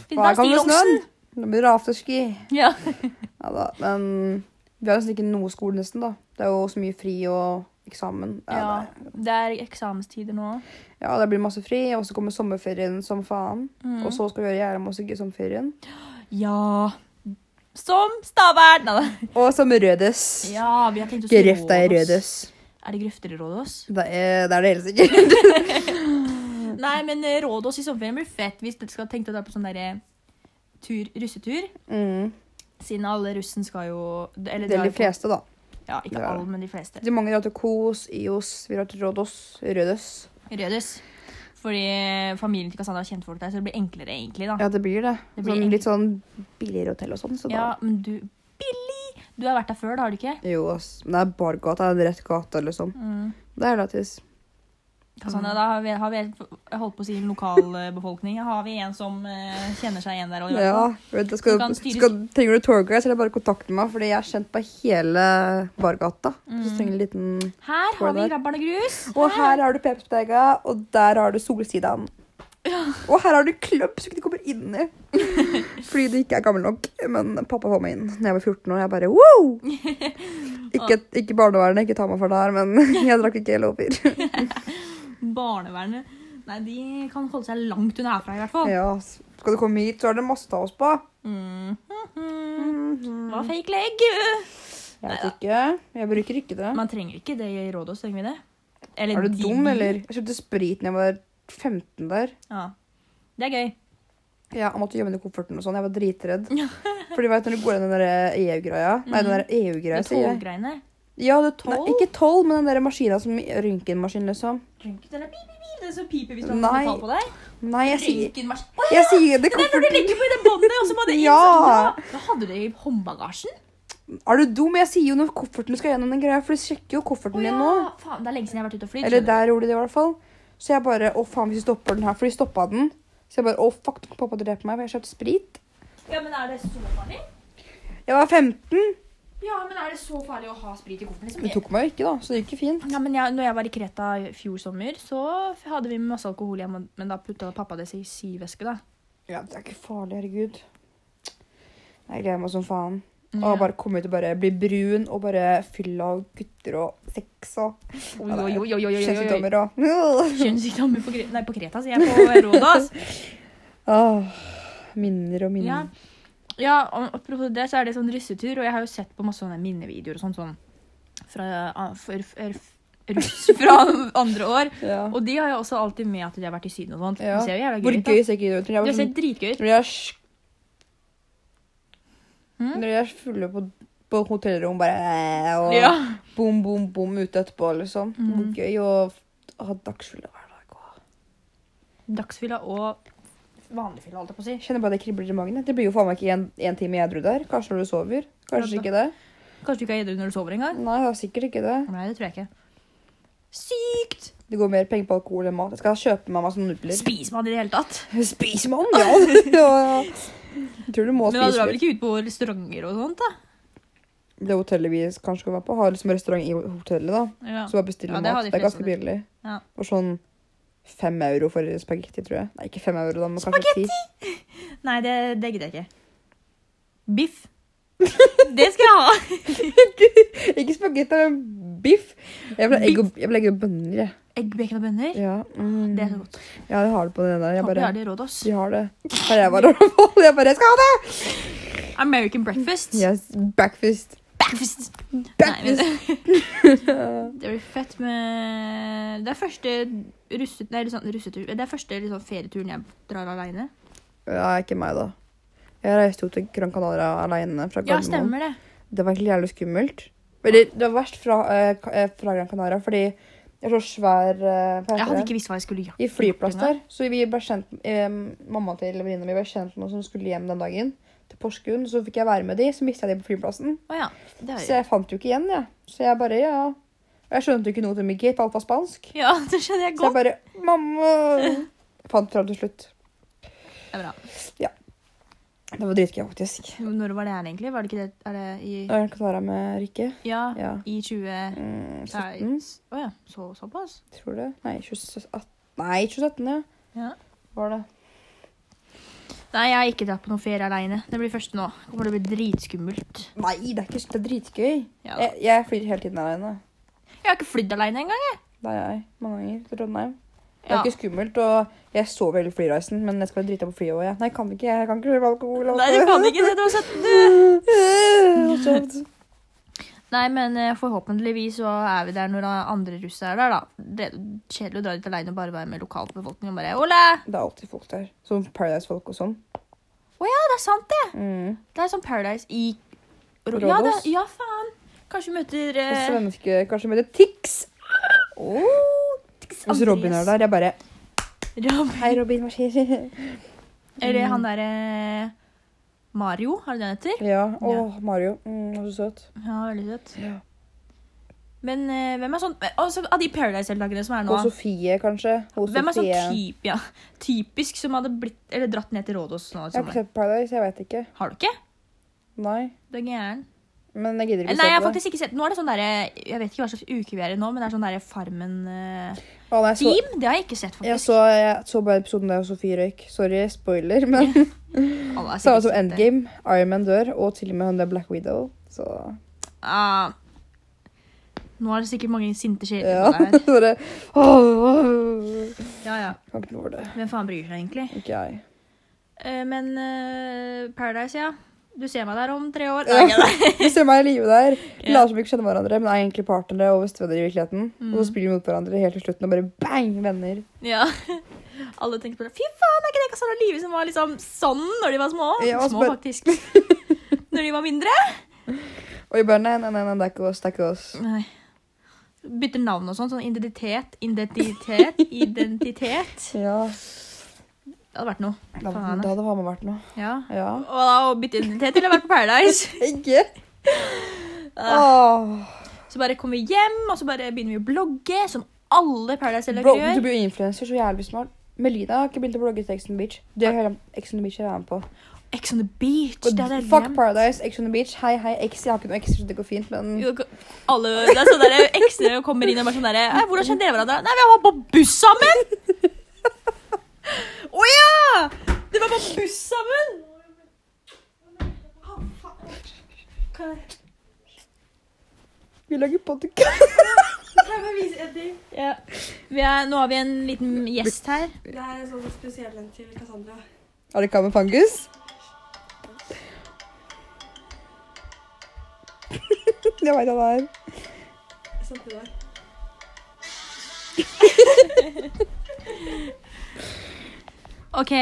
Speaker 1: Finne
Speaker 2: Hva
Speaker 1: fram
Speaker 2: er gang med
Speaker 1: stillongsen.
Speaker 2: snøen? Nå blir det afterski.
Speaker 1: <laughs> Ja.
Speaker 2: Ja da. Men vi har nesten ikke noe skole, nesten, da. Det er jo så mye fri og eksamen.
Speaker 1: <laughs> Ja,
Speaker 2: det-
Speaker 1: det er eksamenstider nå.
Speaker 2: ja, det blir masse fri, og så kommer sommerferien som faen.
Speaker 1: Mm.
Speaker 2: Og så skal vi gjøre jævla masse gøy i sommerferien.
Speaker 1: Ja Som Stavern! <laughs> Nei, da.
Speaker 2: <laughs> Og som Rødes.
Speaker 1: Ja, vi har tenkt oss til
Speaker 2: Grøfta i
Speaker 1: Rhodos.
Speaker 2: Rødes.
Speaker 1: Er det grøfter i Rådås?
Speaker 2: Det er det, er det helt
Speaker 1: <laughs>
Speaker 2: sikkert.
Speaker 1: Nei, men eh, Rådås i sommerferien blir fett hvis dere skal tenke dere å dra på sånn der eh, tur, russetur.
Speaker 2: Mm.
Speaker 1: Siden alle russen skal jo Eller
Speaker 2: Det er
Speaker 1: drar
Speaker 2: de
Speaker 1: på-
Speaker 2: fleste, da.
Speaker 1: Ja, ikke
Speaker 2: Det er det.
Speaker 1: alle, men de fleste.
Speaker 2: De mange drar til Kos, Ios, vi drar til Rådås, Rødes.
Speaker 1: Rødøs. Fordi familien til Cassandra har kjent folk der, så det blir enklere, egentlig. da.
Speaker 2: Ja, det blir det.
Speaker 1: Ah. Det blir
Speaker 2: sånn,
Speaker 1: egentlig-
Speaker 2: litt sånn billigere hotell og sånn. Så
Speaker 1: Ja, men du Billy! Du har vært der før, da, har du ikke?
Speaker 2: da. Jo, ass. Men det er bargata. Det er rett gata, liksom.
Speaker 1: Mm.
Speaker 2: Det er gratis.
Speaker 1: Cassandra, da har vi, har vi jeg holdt på å si lokalbefolkning. Har vi en som eh, kjenner seg igjen der? Og,
Speaker 2: Ja, vet du,
Speaker 1: Du
Speaker 2: skal,
Speaker 1: kan styre-
Speaker 2: skal, Trenger du tourguide, så er det bare å kontakte meg, fordi jeg er kjent på hele bargata. Så
Speaker 1: Mm.
Speaker 2: trenger jeg en liten...
Speaker 1: Her har vi Grabbarn og grus.
Speaker 2: Og her har du Pepsbotega, og der har du Solsidaen. Og her har du klubb som du ikke kommer inn i. Fordi du ikke er gammel nok. Men pappa får meg inn da jeg var 14 år. Jeg bare wow! Ikke, ikke barnevernet, ikke ta meg for det her, men <laughs> jeg drakk ikke lover.
Speaker 1: Barnevernet. Nei, de kan holde seg langt unna herfra, i hvert fall.
Speaker 2: Ja, skal du komme hit, så er det masse å ta oss på.
Speaker 1: Mm. Mhm. Det
Speaker 2: Mhm.
Speaker 1: var fake leg.
Speaker 2: Jeg vet ikke. Jeg bruker ikke det.
Speaker 1: Man trenger ikke det i Rådås, trenger vi det? Eller
Speaker 2: Er du
Speaker 1: de-
Speaker 2: dum, eller? Jeg kjøpte sprit da jeg var 15 der.
Speaker 1: Ja. Det er gøy.
Speaker 2: Ja, jeg måtte gjemme den i kofferten og sånn. Jeg var dritredd. <laughs> For du vet når du går inn i den der EU-greia Nei, den der
Speaker 1: Det
Speaker 2: EU-greia,
Speaker 1: er
Speaker 2: sier jeg.
Speaker 1: toggreiene.
Speaker 2: Ja, det er
Speaker 1: Tolv?
Speaker 2: Nei, ikke tolv, men den der maskina som Røntgenmaskin, liksom.
Speaker 1: Røntgen eller pip, pip, pip. Det er så piper hvis du har fått
Speaker 2: Nei.
Speaker 1: tall på deg.
Speaker 2: Nei, jeg sier
Speaker 1: Røntgenmaskinen. Å,
Speaker 2: Jeg sier det
Speaker 1: Det er når du
Speaker 2: koffert...
Speaker 1: legger på det båndet, og så må det inn.
Speaker 2: Ja.
Speaker 1: sånn, ja. Da hadde du det i håndbagasjen.
Speaker 2: Er du dum? Jeg sier jo når kofferten skal gjennom den greia, for de sjekker jo
Speaker 1: Å
Speaker 2: kofferten
Speaker 1: ja.
Speaker 2: din nå.
Speaker 1: Faen, det er lenge siden jeg har vært ute og flydd.
Speaker 2: Eller
Speaker 1: skjønner
Speaker 2: der gjorde de det, i hvert fall. Så jeg bare Å, faen, hvis de stopper den her, for de stoppa den. Så jeg bare Å, fuck, nå kan pappa drepe meg, for jeg kjøpte sprit.
Speaker 1: du. Ja, men er det så farlig?
Speaker 2: Jeg var 15.
Speaker 1: Ja, men er det så farlig å ha sprit i kofferten?
Speaker 2: De
Speaker 1: Liksom?
Speaker 2: tok meg jo ikke, da, så det gikk jo fint.
Speaker 1: Ja, men jeg, når jeg var i Kreta i fjor sommer, så hadde vi masse alkohol hjemme, men da putta pappa det i si veske, da.
Speaker 2: Ja, det er ikke farlig, herregud. Jeg gleder meg som faen. Og bare komme ut og bare bli brun og bare fylle av gutter og sex og
Speaker 1: Oi, oi, oi, oi, oi, oi, oi.
Speaker 2: kjønnssykdommer og <laughs>
Speaker 1: Kjønnssykdommer på, Gre- nei, på Kreta, sier jeg. På Rådås.
Speaker 2: Åh, Ah, Minner og
Speaker 1: Ja.
Speaker 2: minner.
Speaker 1: ja, og apropos det, så er det sånn russetur, og jeg har jo sett på masse sånne minnevideoer og sånt sånn fra ah, for, for, russ <laughs> fra andre år.
Speaker 2: Ja.
Speaker 1: Og de har jo også alltid med at de har vært i Syden og sånt.
Speaker 2: Ja.
Speaker 1: Det ser jo jævla
Speaker 2: Hvor
Speaker 1: gøy ut.
Speaker 2: gøy
Speaker 1: da.
Speaker 2: ser ikke det ut? Når jeg
Speaker 1: Det
Speaker 2: var
Speaker 1: ser
Speaker 2: sånn-
Speaker 1: dritgøy ut.
Speaker 2: når jeg er sj-
Speaker 1: Mm.
Speaker 2: Når jeg er fulle på, på hotellrom bare eh, og
Speaker 1: Ja.
Speaker 2: bom, bom, bom ute etterpå, liksom. Hvor
Speaker 1: Mm.
Speaker 2: gøy å f- ha dagsfylla hver dag. Åh.
Speaker 1: Dagsfylla og vanligfylla, holdt jeg på å si.
Speaker 2: Jeg kjenner bare det kribler i magen. jeg. Det blir jo faen meg ikke én time edru der. Kanskje når du sover. Kanskje
Speaker 1: Ja, da.
Speaker 2: ikke det.
Speaker 1: Kanskje du ikke er edru når du sover engang?
Speaker 2: Nei, det er sikkert ikke det.
Speaker 1: Nei, det tror jeg ikke. Sykt!
Speaker 2: Det går mer penger på alkohol enn mat. Jeg skal kjøpe meg masse nudler.
Speaker 1: Spiser man i det hele tatt?
Speaker 2: <laughs> Spis mann, ja! <laughs> ja, ja. Jeg tror du må
Speaker 1: Men da
Speaker 2: spise
Speaker 1: drar vel
Speaker 2: litt.
Speaker 1: ikke ut på restauranter og sånt, da?
Speaker 2: Det hotellet vi kanskje skal være på, har liksom restaurant i hotellet, da.
Speaker 1: Ja.
Speaker 2: Så bare bestille
Speaker 1: Ja, det har
Speaker 2: mat.
Speaker 1: de
Speaker 2: Det er
Speaker 1: fleste
Speaker 2: ganske billig.
Speaker 1: Ja.
Speaker 2: For sånn fem euro for spagetti, tror jeg. Nei, ikke fem euro, da, men kanskje ti.
Speaker 1: Nei, det, det gidder jeg ikke. Biff. <laughs> Det skal jeg ha.
Speaker 2: Ikke spagetti, men biff. Jeg vil ha egg og, jeg vil ha egg og bønner, jeg.
Speaker 1: Egg, bacon og bønner.
Speaker 2: Ja, mm.
Speaker 1: Ah, Det er så godt.
Speaker 2: ja, jeg har det på den der. Jeg
Speaker 1: Håper jeg
Speaker 2: bare,
Speaker 1: har det i Rådås.
Speaker 2: de har det. Her jeg var i hvert fall. Jeg bare <laughs> jeg skal ha det!
Speaker 1: American breakfast.
Speaker 2: Yes,
Speaker 1: <laughs>
Speaker 2: breakfast.
Speaker 1: Breakfast!
Speaker 2: Breakfast.
Speaker 1: Det blir fett med Det er første russet... Nei, sånn, russetur Det er første liksom, ferieturen jeg drar aleine.
Speaker 2: Ja, ikke meg, da. Jeg reiste jo til Gran Canaria aleine fra
Speaker 1: Ja,
Speaker 2: Gardermoen.
Speaker 1: stemmer det.
Speaker 2: det var egentlig jævlig skummelt. Eller det var verst fra, eh, Ka- eh, fra Gran Canaria, fordi jeg er så svær eh,
Speaker 1: Jeg
Speaker 2: hva heter
Speaker 1: hadde
Speaker 2: det?
Speaker 1: ikke visst hva jeg skulle gjøre.
Speaker 2: I flyplass der. Så vi ble kjent, eh, mamma til venninna mi ble kjent med noen som skulle hjem den dagen. Til Porsgrunn. Så fikk jeg være med de, så mista jeg de på flyplassen.
Speaker 1: Å ja. Det
Speaker 2: Så
Speaker 1: har jeg.
Speaker 2: jeg fant jo ikke igjen, jeg. Så jeg bare, ja. Jeg skjønte jo ikke noe til Mickey, for alt var spansk.
Speaker 1: Ja, <laughs> det skjønner jeg
Speaker 2: Så
Speaker 1: godt.
Speaker 2: jeg bare Mamma! Jeg fant fram til slutt.
Speaker 1: Det er bra.
Speaker 2: Det var dritgøy, faktisk.
Speaker 1: Når var det her, egentlig? Var det ikke det Er det i
Speaker 2: Gran Canaria med Rikke.
Speaker 1: Ja,
Speaker 2: Ja.
Speaker 1: i 20...
Speaker 2: Mm,
Speaker 1: Nei,
Speaker 2: 17.
Speaker 1: Å ja. Så, såpass?
Speaker 2: Tror det. Nei, 2017, Nei, 2017 ja.
Speaker 1: Ja.
Speaker 2: Var det.
Speaker 1: Nei, jeg har ikke dratt på noen ferie aleine. Det blir første nå. Kommer til å bli dritskummelt.
Speaker 2: Nei, det er ikke det er dritgøy.
Speaker 1: Ja da.
Speaker 2: Jeg, jeg flyr hele tiden alene.
Speaker 1: Jeg har ikke flydd aleine engang. jeg.
Speaker 2: Det er jeg mange ganger til Trondheim. Det er
Speaker 1: Ja.
Speaker 2: ikke skummelt, og jeg sover hele flyreisen, men jeg skal være drita på flyet òg, jeg. Nei, jeg kan ikke, jeg kan ikke kjøpe alkohol. altså.
Speaker 1: Nei, du kan ikke det. Du har sett
Speaker 2: <laughs> Og sånt.
Speaker 1: Nei, men eh, forhåpentligvis så er vi der når andre russere er der, da. Det er kjedelig å dra dit alene og bare være med lokalbefolkningen og bare Ole!
Speaker 2: Det er alltid folk der. Som Paradise-folk og sånn.
Speaker 1: Å ja, det er sant, det!
Speaker 2: Mm.
Speaker 1: Det er sånn Paradise i Ro-
Speaker 2: Rhodos?
Speaker 1: Ja, det, ja, faen! Kanskje vi møter
Speaker 2: Og
Speaker 1: eh,
Speaker 2: svenske Kanskje med det Tix.
Speaker 1: oh, Tix
Speaker 2: Hvis Robin er
Speaker 1: Andreas.
Speaker 2: der, jeg bare
Speaker 1: Robin.
Speaker 2: Hei, Robin, hva skjer? <laughs>
Speaker 1: Eller han derre eh, Mario, er det det han heter?
Speaker 2: Ja. Åh, Mario. Mm, så søt.
Speaker 1: Ja, veldig søt.
Speaker 2: Ja.
Speaker 1: Men eh, hvem er sånn eh, altså, Av de Paradise-deltakerne som er nå
Speaker 2: Og Sofie, kanskje. Og
Speaker 1: Hvem er sånn
Speaker 2: Sofie.
Speaker 1: typ, ja, typisk som hadde blitt Eller dratt ned til Rådås nå i
Speaker 2: Jeg har ikke
Speaker 1: sommer?
Speaker 2: sett Paradise, jeg vet ikke.
Speaker 1: Har du ikke?
Speaker 2: Nei.
Speaker 1: Du er gæren.
Speaker 2: Men jeg gidder
Speaker 1: Nei,
Speaker 2: ikke
Speaker 1: jeg har
Speaker 2: se på det.
Speaker 1: faktisk ikke sett Nå er det sånn derre Jeg vet ikke hva slags uke vi er i nå, men det er sånn derre Farmen-team.
Speaker 2: Å, nei, så,
Speaker 1: det har jeg ikke sett,
Speaker 2: jeg,
Speaker 1: faktisk.
Speaker 2: så, jeg så bare episoden der Sofie røyk. Sorry,
Speaker 1: <laughs>
Speaker 2: spoiler, men
Speaker 1: Alle
Speaker 2: <laughs>
Speaker 1: har
Speaker 2: Samme
Speaker 1: sikkert
Speaker 2: som
Speaker 1: sett det.
Speaker 2: Endgame. Iron Man dør, og til og med hun der Black Widow. Så
Speaker 1: Ah. nå er det sikkert mange sinte sjeler
Speaker 2: ja. <laughs>
Speaker 1: der.
Speaker 2: Bare åh, åh.
Speaker 1: Ja, ja.
Speaker 2: Kan ikke noe for det.
Speaker 1: Hvem faen bryr seg egentlig?
Speaker 2: Ikke jeg.
Speaker 1: Eh, men eh, Paradise, ja. Du ser meg der om tre år.
Speaker 2: Ja.
Speaker 1: Nei, ikke <laughs> det.
Speaker 2: Vi ser meg i live
Speaker 1: <laughs>
Speaker 2: der.
Speaker 1: Ja.
Speaker 2: Later som vi ikke kjenner hverandre, men er egentlig partnere og bestevenner i virkeligheten. Og
Speaker 1: Mm.
Speaker 2: så spiller vi mot hverandre helt til slutten og bare bang, venner.
Speaker 1: ja. Alle tenkte på det. Fy faen, er ikke det Cassandra Live som var liksom sånn når de var små?
Speaker 2: Ja, og så
Speaker 1: små,
Speaker 2: bare-
Speaker 1: faktisk.
Speaker 2: <laughs>
Speaker 1: når de var mindre.
Speaker 2: Og vi bare nei, nei, nei, nei, det er ikke oss, det er ikke oss.
Speaker 1: Nei. Bytter navn og sånn. Sånn identitet,
Speaker 2: <laughs>
Speaker 1: identitet, identitet.
Speaker 2: Ja,
Speaker 1: Det hadde vært noe.
Speaker 2: da,
Speaker 1: Faen,
Speaker 2: da hadde faen meg vært noe.
Speaker 1: Ja.
Speaker 2: Ja.
Speaker 1: Og da å bytte identitet til å være på
Speaker 2: <laughs>
Speaker 1: Paradise.
Speaker 2: Ikke?
Speaker 1: Ah.
Speaker 2: Åh.
Speaker 1: Så bare kommer vi hjem, og så bare begynner vi å blogge, som alle
Speaker 2: Bro,
Speaker 1: Paradise-deltakere
Speaker 2: du
Speaker 1: gjør.
Speaker 2: blir influenser så jævlig smart. Melina har ikke begynt å blogge til Ex on the Beach. Det er hele Ex on the Beach jeg er med på.
Speaker 1: Ex on the beach.
Speaker 2: Og
Speaker 1: Det hadde jeg
Speaker 2: fuck
Speaker 1: glemt.
Speaker 2: Paradise, Ex on the Beach. Hei, hei, X. Jeg har ikke noe X, så det går fint, men
Speaker 1: Jo, Alle, det er sånn der, Eksene kommer inn og bare sånn derre «Hei, 'Hvordan kjenner dere hverandre?' 'Nei, vi var på buss
Speaker 2: <laughs>
Speaker 1: sammen!' Å ja! Dere var på buss sammen! Å, faen. Kan jeg
Speaker 2: vi lager podcast.
Speaker 3: Kan jeg bare vise en ting?
Speaker 1: Ja. Vi er, nå har vi en liten gjest
Speaker 2: <laughs>
Speaker 1: her.
Speaker 3: Det er en sånn spesiell en til Cassandra.
Speaker 2: Er det Carmen Fangus? <laughs> Jeg veit han er.
Speaker 3: Jeg sendte det.
Speaker 2: <laughs>
Speaker 1: OK.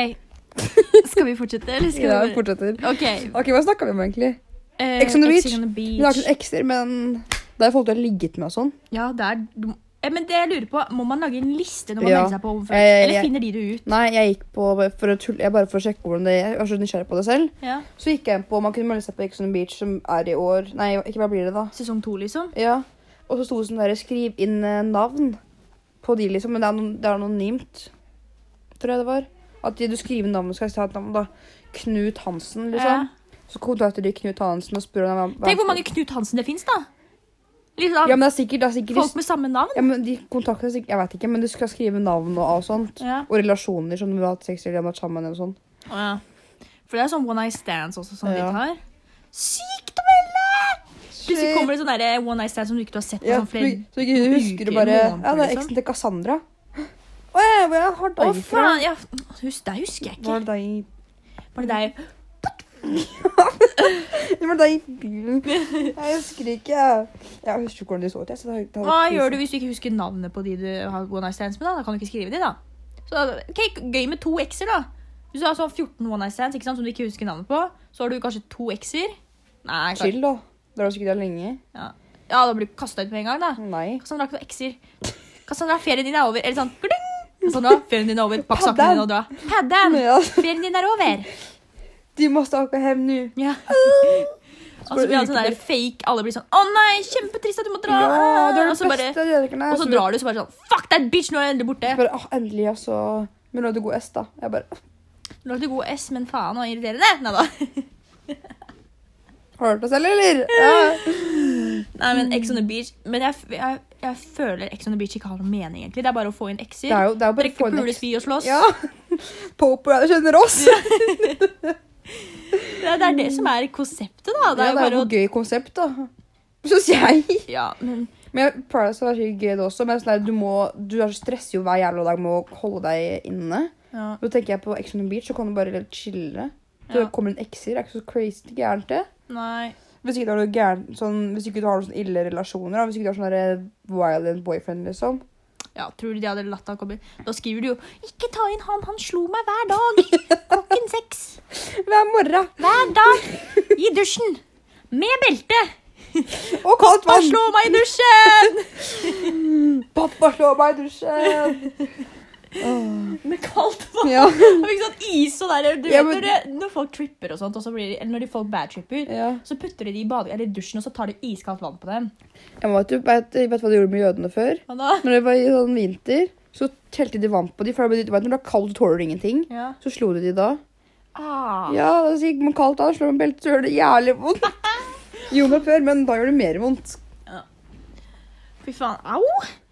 Speaker 1: Skal vi fortsette, eller skal
Speaker 2: Ja,
Speaker 1: vi bare-
Speaker 2: fortsetter.
Speaker 1: OK.
Speaker 2: Ok, Hva snakka vi om, egentlig?
Speaker 1: eh,
Speaker 2: Ex on the
Speaker 1: Ex
Speaker 2: beach.
Speaker 1: on the
Speaker 2: Vi har ikke
Speaker 1: beach.
Speaker 2: noen ekser, men det er folk du har ligget med og sånn.
Speaker 1: Ja, det er du må- eh, Men det jeg lurer på, må man lage en liste når man
Speaker 2: Ja.
Speaker 1: melder seg på? overfor-
Speaker 2: Eh,
Speaker 1: Eller
Speaker 2: jeg-
Speaker 1: finner de det ut?
Speaker 2: Nei, jeg gikk på for å tulle, jeg bare for å sjekke hvordan det Jeg var så nysgjerrig på det selv.
Speaker 1: Ja.
Speaker 2: Så gikk jeg inn på om man kunne melde seg på Ex on the Beach, som er i år Nei, ikke hva blir det, da?
Speaker 1: Sesong to, liksom?
Speaker 2: Ja. Og så sto det sånn derre Skriv inn eh, navn på de, liksom. Men det er, anon- det er anonymt, tror jeg det var. At de, du skriver navnet, skal jeg ta et navn, da. Knut Hansen, liksom.
Speaker 1: Ja.
Speaker 2: Så kontakter de Knut Hansen og spør om han
Speaker 1: Tenk hvor mange Knut Hansen det fins, da! Liksom,
Speaker 2: Ja, men det er sikkert, det er sikkert
Speaker 1: Folk med samme navn.
Speaker 2: ja, men De kontakter sikkert Jeg vet ikke, men du skal skrive navn og, og sånt.
Speaker 1: Ja.
Speaker 2: Og relasjoner, som du har hatt sex eller har vært sammen eller sånn.
Speaker 1: Å, ja. For det er sånn one night stands også, som
Speaker 2: Ja.
Speaker 1: de tar. Sykt melde! Plutselig kommer det sånn der one night stand som du ikke har sett på
Speaker 2: ja,
Speaker 1: sånn
Speaker 2: så,
Speaker 1: flere
Speaker 2: så ikke du husker det
Speaker 1: uker,
Speaker 2: bare
Speaker 1: måneder,
Speaker 2: Ja, det er liksom.
Speaker 1: liksom.
Speaker 2: eksen til Cassandra. <gasps> Å, jeg, jeg
Speaker 1: Å,
Speaker 2: har deg fra.
Speaker 1: faen! Ja, husk, det husker jeg ikke.
Speaker 2: Var det <laughs> deg
Speaker 1: Var det deg?
Speaker 2: Det var deg i bilen. Jeg husker ikke. Jeg husker ikke hvordan de så ut. Jeg, så det, liksom det
Speaker 1: Hva gjør du hvis du ikke husker navnet på de du har one night stands med? Da Da kan du ikke skrive de, da. Så ok, Gøy med to x-er, da. Hvis du har sånn 14 one night stands ikke sant, som du ikke husker navnet på, så har du kanskje to x-er. Nei, kanskje.
Speaker 2: Chill, da. Dere har sikkert der lenge.
Speaker 1: Ja, da blir du kasta ut med en gang, da. <laughs>
Speaker 2: Nei.
Speaker 1: Cassandra har ikke noen x-er. Cassandra, ferien din er over. Eller sånn gling! Cassandra, ferien din er over. Pakk sakene dine og dra. Paddan!
Speaker 2: Ja.
Speaker 1: Ferien din er over.
Speaker 2: De må snakke hjem nå.
Speaker 1: Ja.
Speaker 2: <laughs>
Speaker 1: Og så blir han sånn der fake. Alle blir sånn Å nei, kjempetrist at du må dra.
Speaker 2: Ja, det er
Speaker 1: og
Speaker 2: det
Speaker 1: så bare
Speaker 2: beste deltakerne.
Speaker 1: Og så drar du, så bare sånn Fuck that bitch, nå er jeg endelig borte.
Speaker 2: Jeg bare, ah, endelig, altså. Men nå er det god S, da. Jeg bare, <laughs> ah,
Speaker 1: Nå lagde du god S, men faen, nå irriterende. Nei da.
Speaker 2: Har du hørt oss, eller?
Speaker 1: <laughs>
Speaker 2: eller? Ja.
Speaker 1: <laughs> Nei, men Ex on the beach Men jeg, jeg, jeg føler Ex on the beach ikke har noen mening, egentlig. Det er bare å få inn
Speaker 2: Det er
Speaker 1: X-er.
Speaker 2: jo, det er jo bare å
Speaker 1: Drikke,
Speaker 2: få en
Speaker 1: pule,
Speaker 2: X.
Speaker 1: spy og slåss.
Speaker 2: Ja. <laughs> Popo, ja, du kjenner oss.
Speaker 1: Det, er, det er det som er konseptet, da.
Speaker 2: Ja,
Speaker 1: Det er jo
Speaker 2: det er
Speaker 1: bare
Speaker 2: jo
Speaker 1: å <laughs>
Speaker 2: et gøy konsept, da. Syns jeg.
Speaker 1: Ja, men
Speaker 2: Men jeg- Paradise var sikkert gøy det også, men sånn der, du, må, du er så stresser jo hver jævla dag med å holde deg inne.
Speaker 1: Ja.
Speaker 2: Da tenker jeg på Ex on the Beach, så kan du bare litt chille. Så
Speaker 1: Ja.
Speaker 2: kommer en ekser, det er ikke så crazy gærent det.
Speaker 1: Nei.
Speaker 2: Hvis ikke du har noe gærent, sånn, hvis ikke du har noen sånne ille relasjoner, da. hvis ikke du har sånn der violent boyfriend, liksom.
Speaker 1: Ja, tror du de hadde latt han komme? Da skriver du jo 'Ikke ta inn han, han slo meg hver dag'. Klokken seks.
Speaker 2: Hver morgen!
Speaker 1: Hver dag. I dusjen. Med belte.
Speaker 2: Og kaldt
Speaker 1: Han
Speaker 2: vann!
Speaker 1: slår meg i dusjen!
Speaker 2: Pappa slår meg i dusjen!
Speaker 1: <laughs>
Speaker 2: Åh.
Speaker 1: Med <laughs> kaldt vann.
Speaker 2: Ja.
Speaker 1: Jeg fikk sånn is og der. Du vet,
Speaker 2: Ja, men-
Speaker 1: når, det, når folk tripper og sånt, og så blir de, eller når de folk badtripper,
Speaker 2: ja.
Speaker 1: så putter de det i bade, eller i dusjen, og så tar de iskaldt vann på dem.
Speaker 2: Jeg vet, du, vet, vet du hva de gjorde med jødene før?
Speaker 1: Og da,
Speaker 2: Når det var i sånn vinter, så telte de vann på dem. For da ble de- vet du, når det er kaldt, så tåler du ingenting.
Speaker 1: ja.
Speaker 2: Så slo de de da.
Speaker 1: Ah.
Speaker 2: Ja, da gikk man kaldt av, slår man beltet, så gjør det jævlig vondt. Jo, men før, men da gjør det mer vondt.
Speaker 1: Fy faen. Au!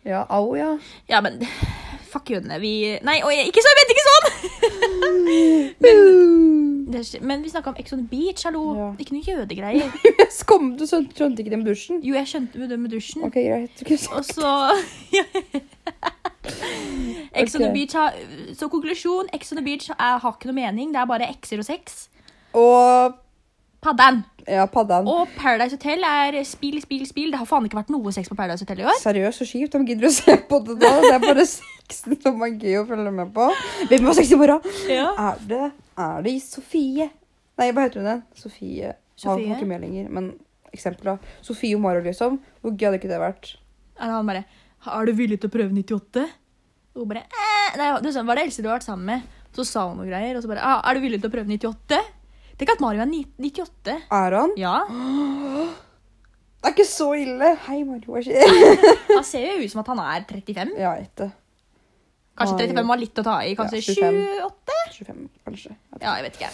Speaker 2: Ja, au, ja.
Speaker 1: Ja, men fuck jødene. Vi Nei, oi, ikke sånn! Vent, ikke sånn!
Speaker 2: Men,
Speaker 1: Det, er- men vi snakka om Ex on the Beach, hallo.
Speaker 2: Ja.
Speaker 1: Ikke noe jødegreier.
Speaker 2: <laughs> jeg skom, du skjønte skjønte ikke det med dusjen.
Speaker 1: Jo, jeg skjønte med det med dusjen.
Speaker 2: Ok, greit. Du kunne
Speaker 1: Og
Speaker 2: sagt-
Speaker 1: så <laughs> Ex on the
Speaker 2: Ok.
Speaker 1: Beach har Så konklusjon, Ex on the Beach er, har ikke noe mening. Det er bare ekser og sex.
Speaker 2: Og
Speaker 1: Padderen.
Speaker 2: ja, paddaen.
Speaker 1: Og Paradise Hotel er spill, spill, spill. Det har faen ikke vært noe sex på Paradise Hotel i år.
Speaker 2: Seriøst, så kjipt. De gidder å se på det da. Det er bare <laughs> sexen som er gøy å følge med på. Hvem har sex i morgen? Er det, er det Sofie? Nei, hva heter hun igjen? Sofie. Sofie? Har
Speaker 1: Sofie?
Speaker 2: ikke med lenger, men eksempel da. Sofie og Mario, liksom. Hvor gøy hadde ikke det vært?
Speaker 1: Eller han bare Er du villig til å prøve 98? Og hun bare eh. Nei, det var det eldste du har vært sammen med. Så sa hun noe greier, og så bare ah, Er du villig til å prøve 98? Tenk at Mario er ni- 98.
Speaker 2: Er han?
Speaker 1: Ja.
Speaker 2: Det er ikke så ille. Hei, Mario. Hva skjer? <laughs>
Speaker 1: Han ser jo ut som at han er 35.
Speaker 2: Ja, jeg vet det.
Speaker 1: Kanskje
Speaker 2: Mario.
Speaker 1: 35 var litt å ta i. Kanskje
Speaker 2: Ja, 25.
Speaker 1: 28?
Speaker 2: 25, kanskje.
Speaker 1: Ja, jeg vet ikke.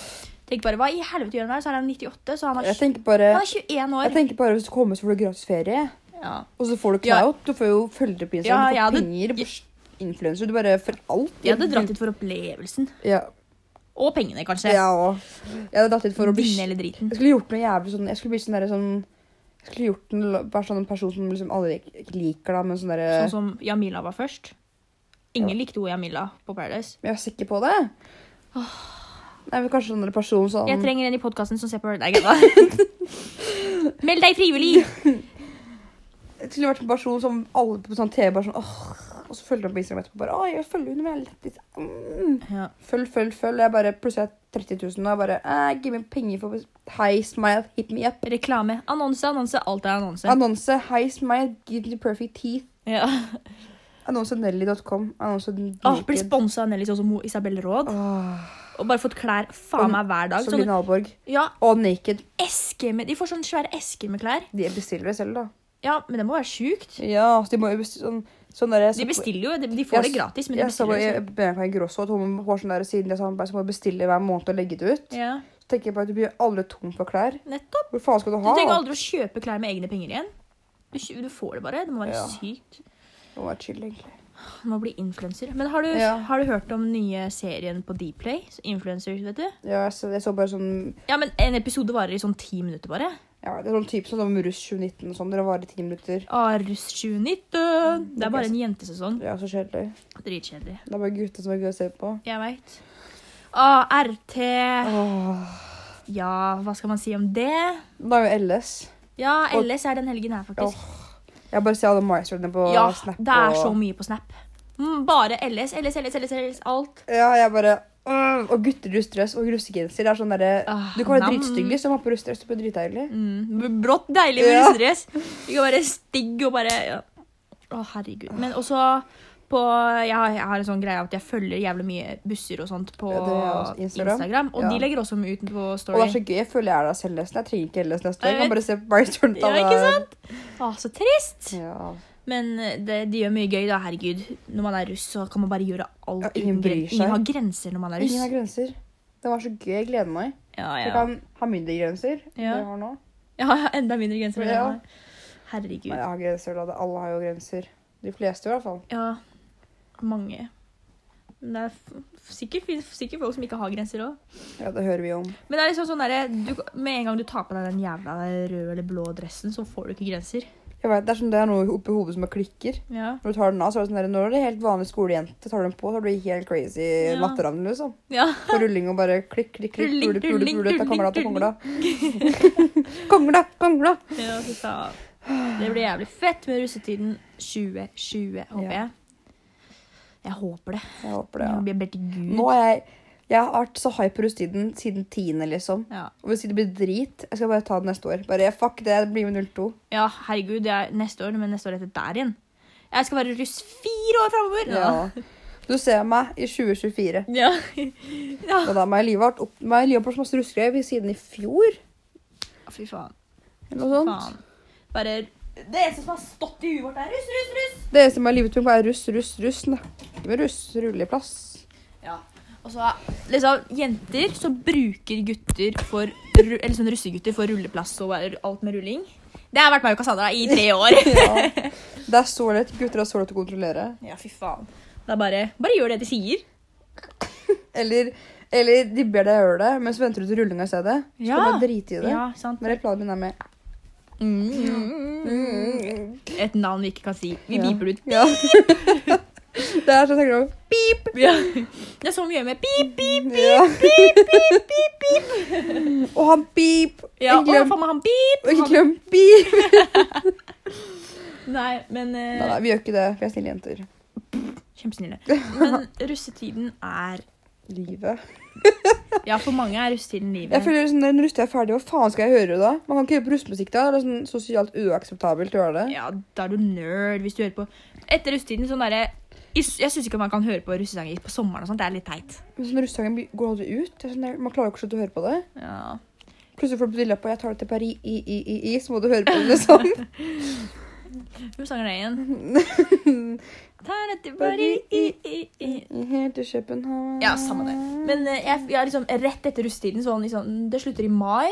Speaker 1: Tenk bare, Hva i helvete gjør han her? Så er han 98, så han er,
Speaker 2: Jeg
Speaker 1: tj-
Speaker 2: tenker bare,
Speaker 1: han er 21
Speaker 2: jeg
Speaker 1: år.
Speaker 2: tenker bare hvis du kommer, så får du gratis ferie.
Speaker 1: Ja.
Speaker 2: Og så får du
Speaker 1: Ja.
Speaker 2: clout. Du får jo følgere på
Speaker 1: Ja, jeg
Speaker 2: Instagram. du
Speaker 1: hadde-
Speaker 2: får penger, du får influenser. Du bare får alt.
Speaker 1: Jeg hadde dratt dit for opplevelsen.
Speaker 2: Ja,
Speaker 1: Og pengene, kanskje.
Speaker 2: jeg òg. Jeg hadde dratt hit for å bli
Speaker 1: Vinne hele driten.
Speaker 2: Jeg skulle gjort noe jævlig sånn Jeg skulle blitt sånn derre sånn Jeg skulle gjort en, la- bare sånn en person som liksom alle ikke- ikke liker, da, men sånn derre
Speaker 1: Sånn som Jamila var først. Ingen likte hun Jamila på Paradise.
Speaker 2: Men Jeg er sikker på det. Nei, men Kanskje sånn en person som
Speaker 1: Jeg trenger en i podkasten som ser på Nei, kødda. <laughs> Meld deg frivillig!
Speaker 2: Det skulle vært en person som alle på sånn TV bare sånn åh, Og så følger de på Instagram etterpå bare Å, jeg følger henne, men jeg er lettis. Mm.
Speaker 1: Ja.
Speaker 2: Følg, følg, følg. Jeg bare, plutselig er jeg 30 000, og jeg bare eh, Gi meg penger for Hei, smile, hit me up.
Speaker 1: Reklame. Annonse, annonse. Alt er annonse.
Speaker 2: Annonse. Hei, smile, give me perfect teeth.
Speaker 1: ja.
Speaker 2: Annonse Nelly.com. Annonse
Speaker 1: Åh, blir
Speaker 2: Naked.
Speaker 1: sponsa av Nelly sånn som hun Isabel Råd.
Speaker 2: Åh,
Speaker 1: Og bare fått klær faen meg hver dag.
Speaker 2: Som Linn
Speaker 1: Sånne,
Speaker 2: Alborg.
Speaker 1: ja,
Speaker 2: Og Naked.
Speaker 1: esker med, De får sånne svære esker med klær.
Speaker 2: De bestiller det selv, da.
Speaker 1: Ja, men det må være sjukt.
Speaker 2: Ja, så de må jo bestille sånn, sånn der,
Speaker 1: De bestiller jo. De, de får det gratis, men de
Speaker 2: jeg
Speaker 1: bestiller
Speaker 2: så bare
Speaker 1: jo.
Speaker 2: i Bianca Ingrosso at hun får sånn der siden det samarbeidet, så må du bestille hver måned og legge det ut.
Speaker 1: sånn- Ja,
Speaker 2: Så tenker jeg bare at du blir aldri tom for klær.
Speaker 1: nettopp.
Speaker 2: Hvor faen skal du
Speaker 1: Du
Speaker 2: ha?
Speaker 1: trenger aldri å kjøpe klær med egne penger igjen. Du, kjø- du får det bare. Det må være
Speaker 2: Ja.
Speaker 1: sykt.
Speaker 2: Det må være chill, egentlig.
Speaker 1: Du må bli influenser. Men har du,
Speaker 2: Ja.
Speaker 1: har du hørt om den nye serien på Dplay? Influencers, vet du?
Speaker 2: Ja, jeg så, jeg så bare sånn
Speaker 1: Ja, men En episode varer i sånn ti minutter, bare.
Speaker 2: ja, Det er sånn type sånn som Russ 2019 og sånn. Dere varer i ti minutter.
Speaker 1: Ah, russ 2019! Det er bare en jentesesong.
Speaker 2: Ja, så kjedelig.
Speaker 1: Dritkjedelig.
Speaker 2: Det er bare gutta som er gøy å se på.
Speaker 1: Jeg veit. Ah, RT
Speaker 2: Åh.
Speaker 1: Ja, hva skal man si om det?
Speaker 2: Da er jo LS.
Speaker 1: Ja, LS er den helgen her, faktisk.
Speaker 2: Jeg bare ser alle milestone på
Speaker 1: Ja,
Speaker 2: Snap.
Speaker 1: det er
Speaker 2: og-
Speaker 1: så mye på Snap. Mm, bare LS, LS, LS, LS, LS, alt.
Speaker 2: Ja, jeg bare øh, Og gutter i russdress og russegenser. Det er sånn derre
Speaker 1: Ah,
Speaker 2: Du kan være
Speaker 1: nam.
Speaker 2: dritstygg liksom, og ha på russedress. Det blir dritdeilig.
Speaker 1: Mm, b- brått deilig med
Speaker 2: Ja.
Speaker 1: russedress. Du kan være stygg og bare ja. Å, herregud. Men også på jeg har, jeg har en sånn greie at jeg følger jævlig mye busser og sånt på
Speaker 2: Ja, det er også
Speaker 1: Instagram.
Speaker 2: Instagram.
Speaker 1: Og
Speaker 2: Ja.
Speaker 1: de legger også mye ut på
Speaker 2: Og det er
Speaker 1: Story.
Speaker 2: så gøy. Jeg føler jeg er der selv nesten. Jeg trenger ikke LS neste år. Jeg
Speaker 1: Jeg
Speaker 2: kan bare se på milestone.
Speaker 1: Ja, ikke sant? Å, så trist!
Speaker 2: Ja.
Speaker 1: Men eh, det, de gjør mye gøy, da. Herregud. Når man er russ, så kan man bare gjøre alt.
Speaker 2: Ja,
Speaker 1: gren-
Speaker 2: ingen bryr seg.
Speaker 1: ingen har grenser når man er russ.
Speaker 2: Ingen har grenser. Det var så gøy. Jeg gleder meg.
Speaker 1: Ja,
Speaker 2: Jeg
Speaker 1: ja.
Speaker 2: kan ha mindre grenser enn
Speaker 1: Ja.
Speaker 2: det jeg har nå.
Speaker 1: ja, enda mindre grenser. enn jeg
Speaker 2: Ja.
Speaker 1: har. Herregud.
Speaker 2: Men jeg har grenser, da. Det- Alle har jo grenser. De fleste, i hvert fall.
Speaker 1: Ja, mange. Men det er f- f- sikkert, fin- sikkert folk som ikke har grenser òg.
Speaker 2: Ja, Det hører vi om.
Speaker 1: Men det er liksom sånn derre du- Med en gang du tar på deg den jævla røde eller blå dressen, så får du ikke grenser.
Speaker 2: Jeg vet, det er sånn det er noe oppi hodet som bare klikker.
Speaker 1: Ja.
Speaker 2: Når du tar den av, så er det sånn der, nå er det helt vanlig skolejente. Tar du den på, så blir du helt crazy
Speaker 1: Ja.
Speaker 2: latterravn, liksom.
Speaker 1: ja.
Speaker 2: På rulling og bare klikk, klikk, klikk,
Speaker 1: Rulling,
Speaker 2: pule, pule,
Speaker 1: rulling,
Speaker 2: pule, ta kongla, ta
Speaker 1: rulling,
Speaker 2: kongla. Kongla, kongla!
Speaker 1: Ja, fy faen. Det blir jævlig fett med russetiden 2020, håper
Speaker 2: Ja.
Speaker 1: jeg. E. Jeg håper det.
Speaker 2: Jeg håper det,
Speaker 1: Jeg
Speaker 2: ja.
Speaker 1: blir bedt til Gud.
Speaker 2: Nå er jeg, jeg har vært så hype på rusttiden siden tiende, liksom.
Speaker 1: Ja.
Speaker 2: Og hvis det blir drit, jeg skal bare ta det neste år. Bare fuck det, det blir med 02.
Speaker 1: ja, herregud, det er neste år, men neste år etter der igjen. Jeg skal være russ fire år framover!
Speaker 2: Ja. Du ser meg i 2024.
Speaker 1: Ja. ja.
Speaker 2: Og da har jeg livet vært opp meg har livet vært så masse ruskegreier siden i fjor.
Speaker 1: <laughs> Fy faen.
Speaker 2: Eller noe sånt.
Speaker 1: faen. Bare Det eneste som har stått i huet vårt, er russ, russ, russ!
Speaker 2: Det eneste som er livet mitt, er russ, russ, russ. Snakke med russ, rulleplass.
Speaker 1: Ja. Og så liksom, jenter så bruker gutter for ru- Eller sånn russegutter for rulleplass og alt med rulling. Det har vært meg og Cassandra i tre år.
Speaker 2: Ja. Det er så lett. Gutter er så lett å kontrollere.
Speaker 1: <laughs> Ja, fy faen. Det er bare, bare gjør det de sier.
Speaker 2: Eller, eller de ber deg gjøre det, men så venter du til rullinga i stedet. Så
Speaker 1: Ja.
Speaker 2: kan du bare drite i det.
Speaker 1: Ja, sant. Mm.
Speaker 2: Men planen min er med.
Speaker 1: Et navn vi ikke kan si. Vi
Speaker 2: Ja.
Speaker 1: piper det ut.
Speaker 2: Ja. <laughs> Det er så jeg tenker om.
Speaker 1: Pip! Ja. <laughs> Det er så mye med pip, pip.
Speaker 2: Ja. <laughs> Og han pip!
Speaker 1: Ja,
Speaker 2: Ikke
Speaker 1: og
Speaker 2: glem,
Speaker 1: faen meg han pip.
Speaker 2: og ikke
Speaker 1: Han-
Speaker 2: glem pip!
Speaker 1: <laughs> Nei, men eh,
Speaker 2: Nei, nei, vi gjør ikke det. Vi er snille jenter.
Speaker 1: Kjempesnille. Men russetiden er
Speaker 2: Livet.
Speaker 1: Ja, for mange er russetiden livet.
Speaker 2: Jeg føler sånn, Når rustet er ferdig, hva faen skal jeg høre da? Man kan ikke høre på russemusikk da. Det er sånn sosialt uakseptabelt å gjøre det.
Speaker 1: Ja, da er du nerd hvis du hører på Etter russetiden sånn derre Jeg syns ikke man kan høre på russesanger på sommeren og sånt. Det er litt teit.
Speaker 2: Men sånn russesangen blir- går aldri ut. Det er sånn, der, man klarer jo ikke å slutte å høre på det.
Speaker 1: Ja.
Speaker 2: Plutselig får du briller på 'jeg tar det til Paris', i, i, i, i, så må du høre på det liksom.
Speaker 1: Hvem sanger det igjen? <laughs> Tar dette bare i, i, i.
Speaker 2: Helt til København
Speaker 1: Ja, samme det. Men eh, jeg, jeg er liksom rett etter russetiden, sånn liksom Det slutter i mai.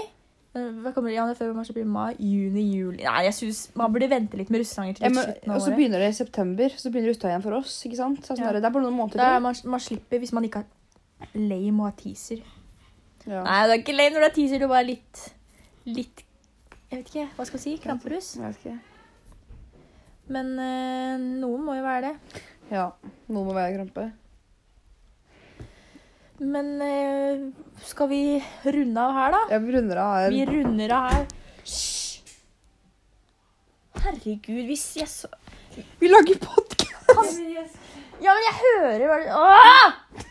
Speaker 1: Eh, Hva kommer det? Ja, det er før mars, april, mai, juni, juli Nei, jeg synes man burde vente litt med russesanger til
Speaker 2: Ja,
Speaker 1: litt
Speaker 2: men,
Speaker 1: slutten
Speaker 2: og
Speaker 1: av
Speaker 2: så
Speaker 1: året.
Speaker 2: begynner det i september, så begynner rusta igjen for oss. ikke sant? Så det er sånn
Speaker 1: Ja.
Speaker 2: der, det er bare noen måneder
Speaker 1: Da er
Speaker 2: til.
Speaker 1: man, man slipper hvis man ikke har lame og har teaser.
Speaker 2: Ja.
Speaker 1: Nei, det er ikke lame når du har teaser, du er bare litt Litt Jeg vet ikke, hva skal jeg si? Kramperus?
Speaker 2: Jeg vet ikke.
Speaker 1: Men eh, noen må jo være det.
Speaker 2: Ja, noen må være krampe.
Speaker 1: Men eh, skal vi runde av her, da?
Speaker 2: Jeg runder av her.
Speaker 1: Vi runder av her. Hysj! Herregud, hvis jeg så
Speaker 2: Vi lager podkast!
Speaker 1: Ja, men jeg hører hva du Åh!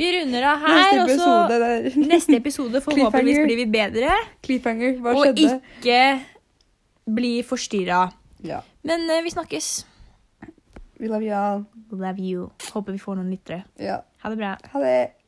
Speaker 1: Vi runder av her,
Speaker 2: Neste
Speaker 1: og så
Speaker 2: episode. Det er
Speaker 1: Neste episode forhåpentligvis
Speaker 2: Cliffhanger.
Speaker 1: blir vi bedre.
Speaker 2: <laughs> cliffhanger. Hva
Speaker 1: Og
Speaker 2: skjedde?
Speaker 1: ikke bli forstyrra.
Speaker 2: Ja.
Speaker 1: Men eh, vi snakkes.
Speaker 2: Vi love you all.
Speaker 1: Love you. Håper vi får noen lyttere.
Speaker 2: Ja.
Speaker 1: Ha det bra.
Speaker 2: Ha det.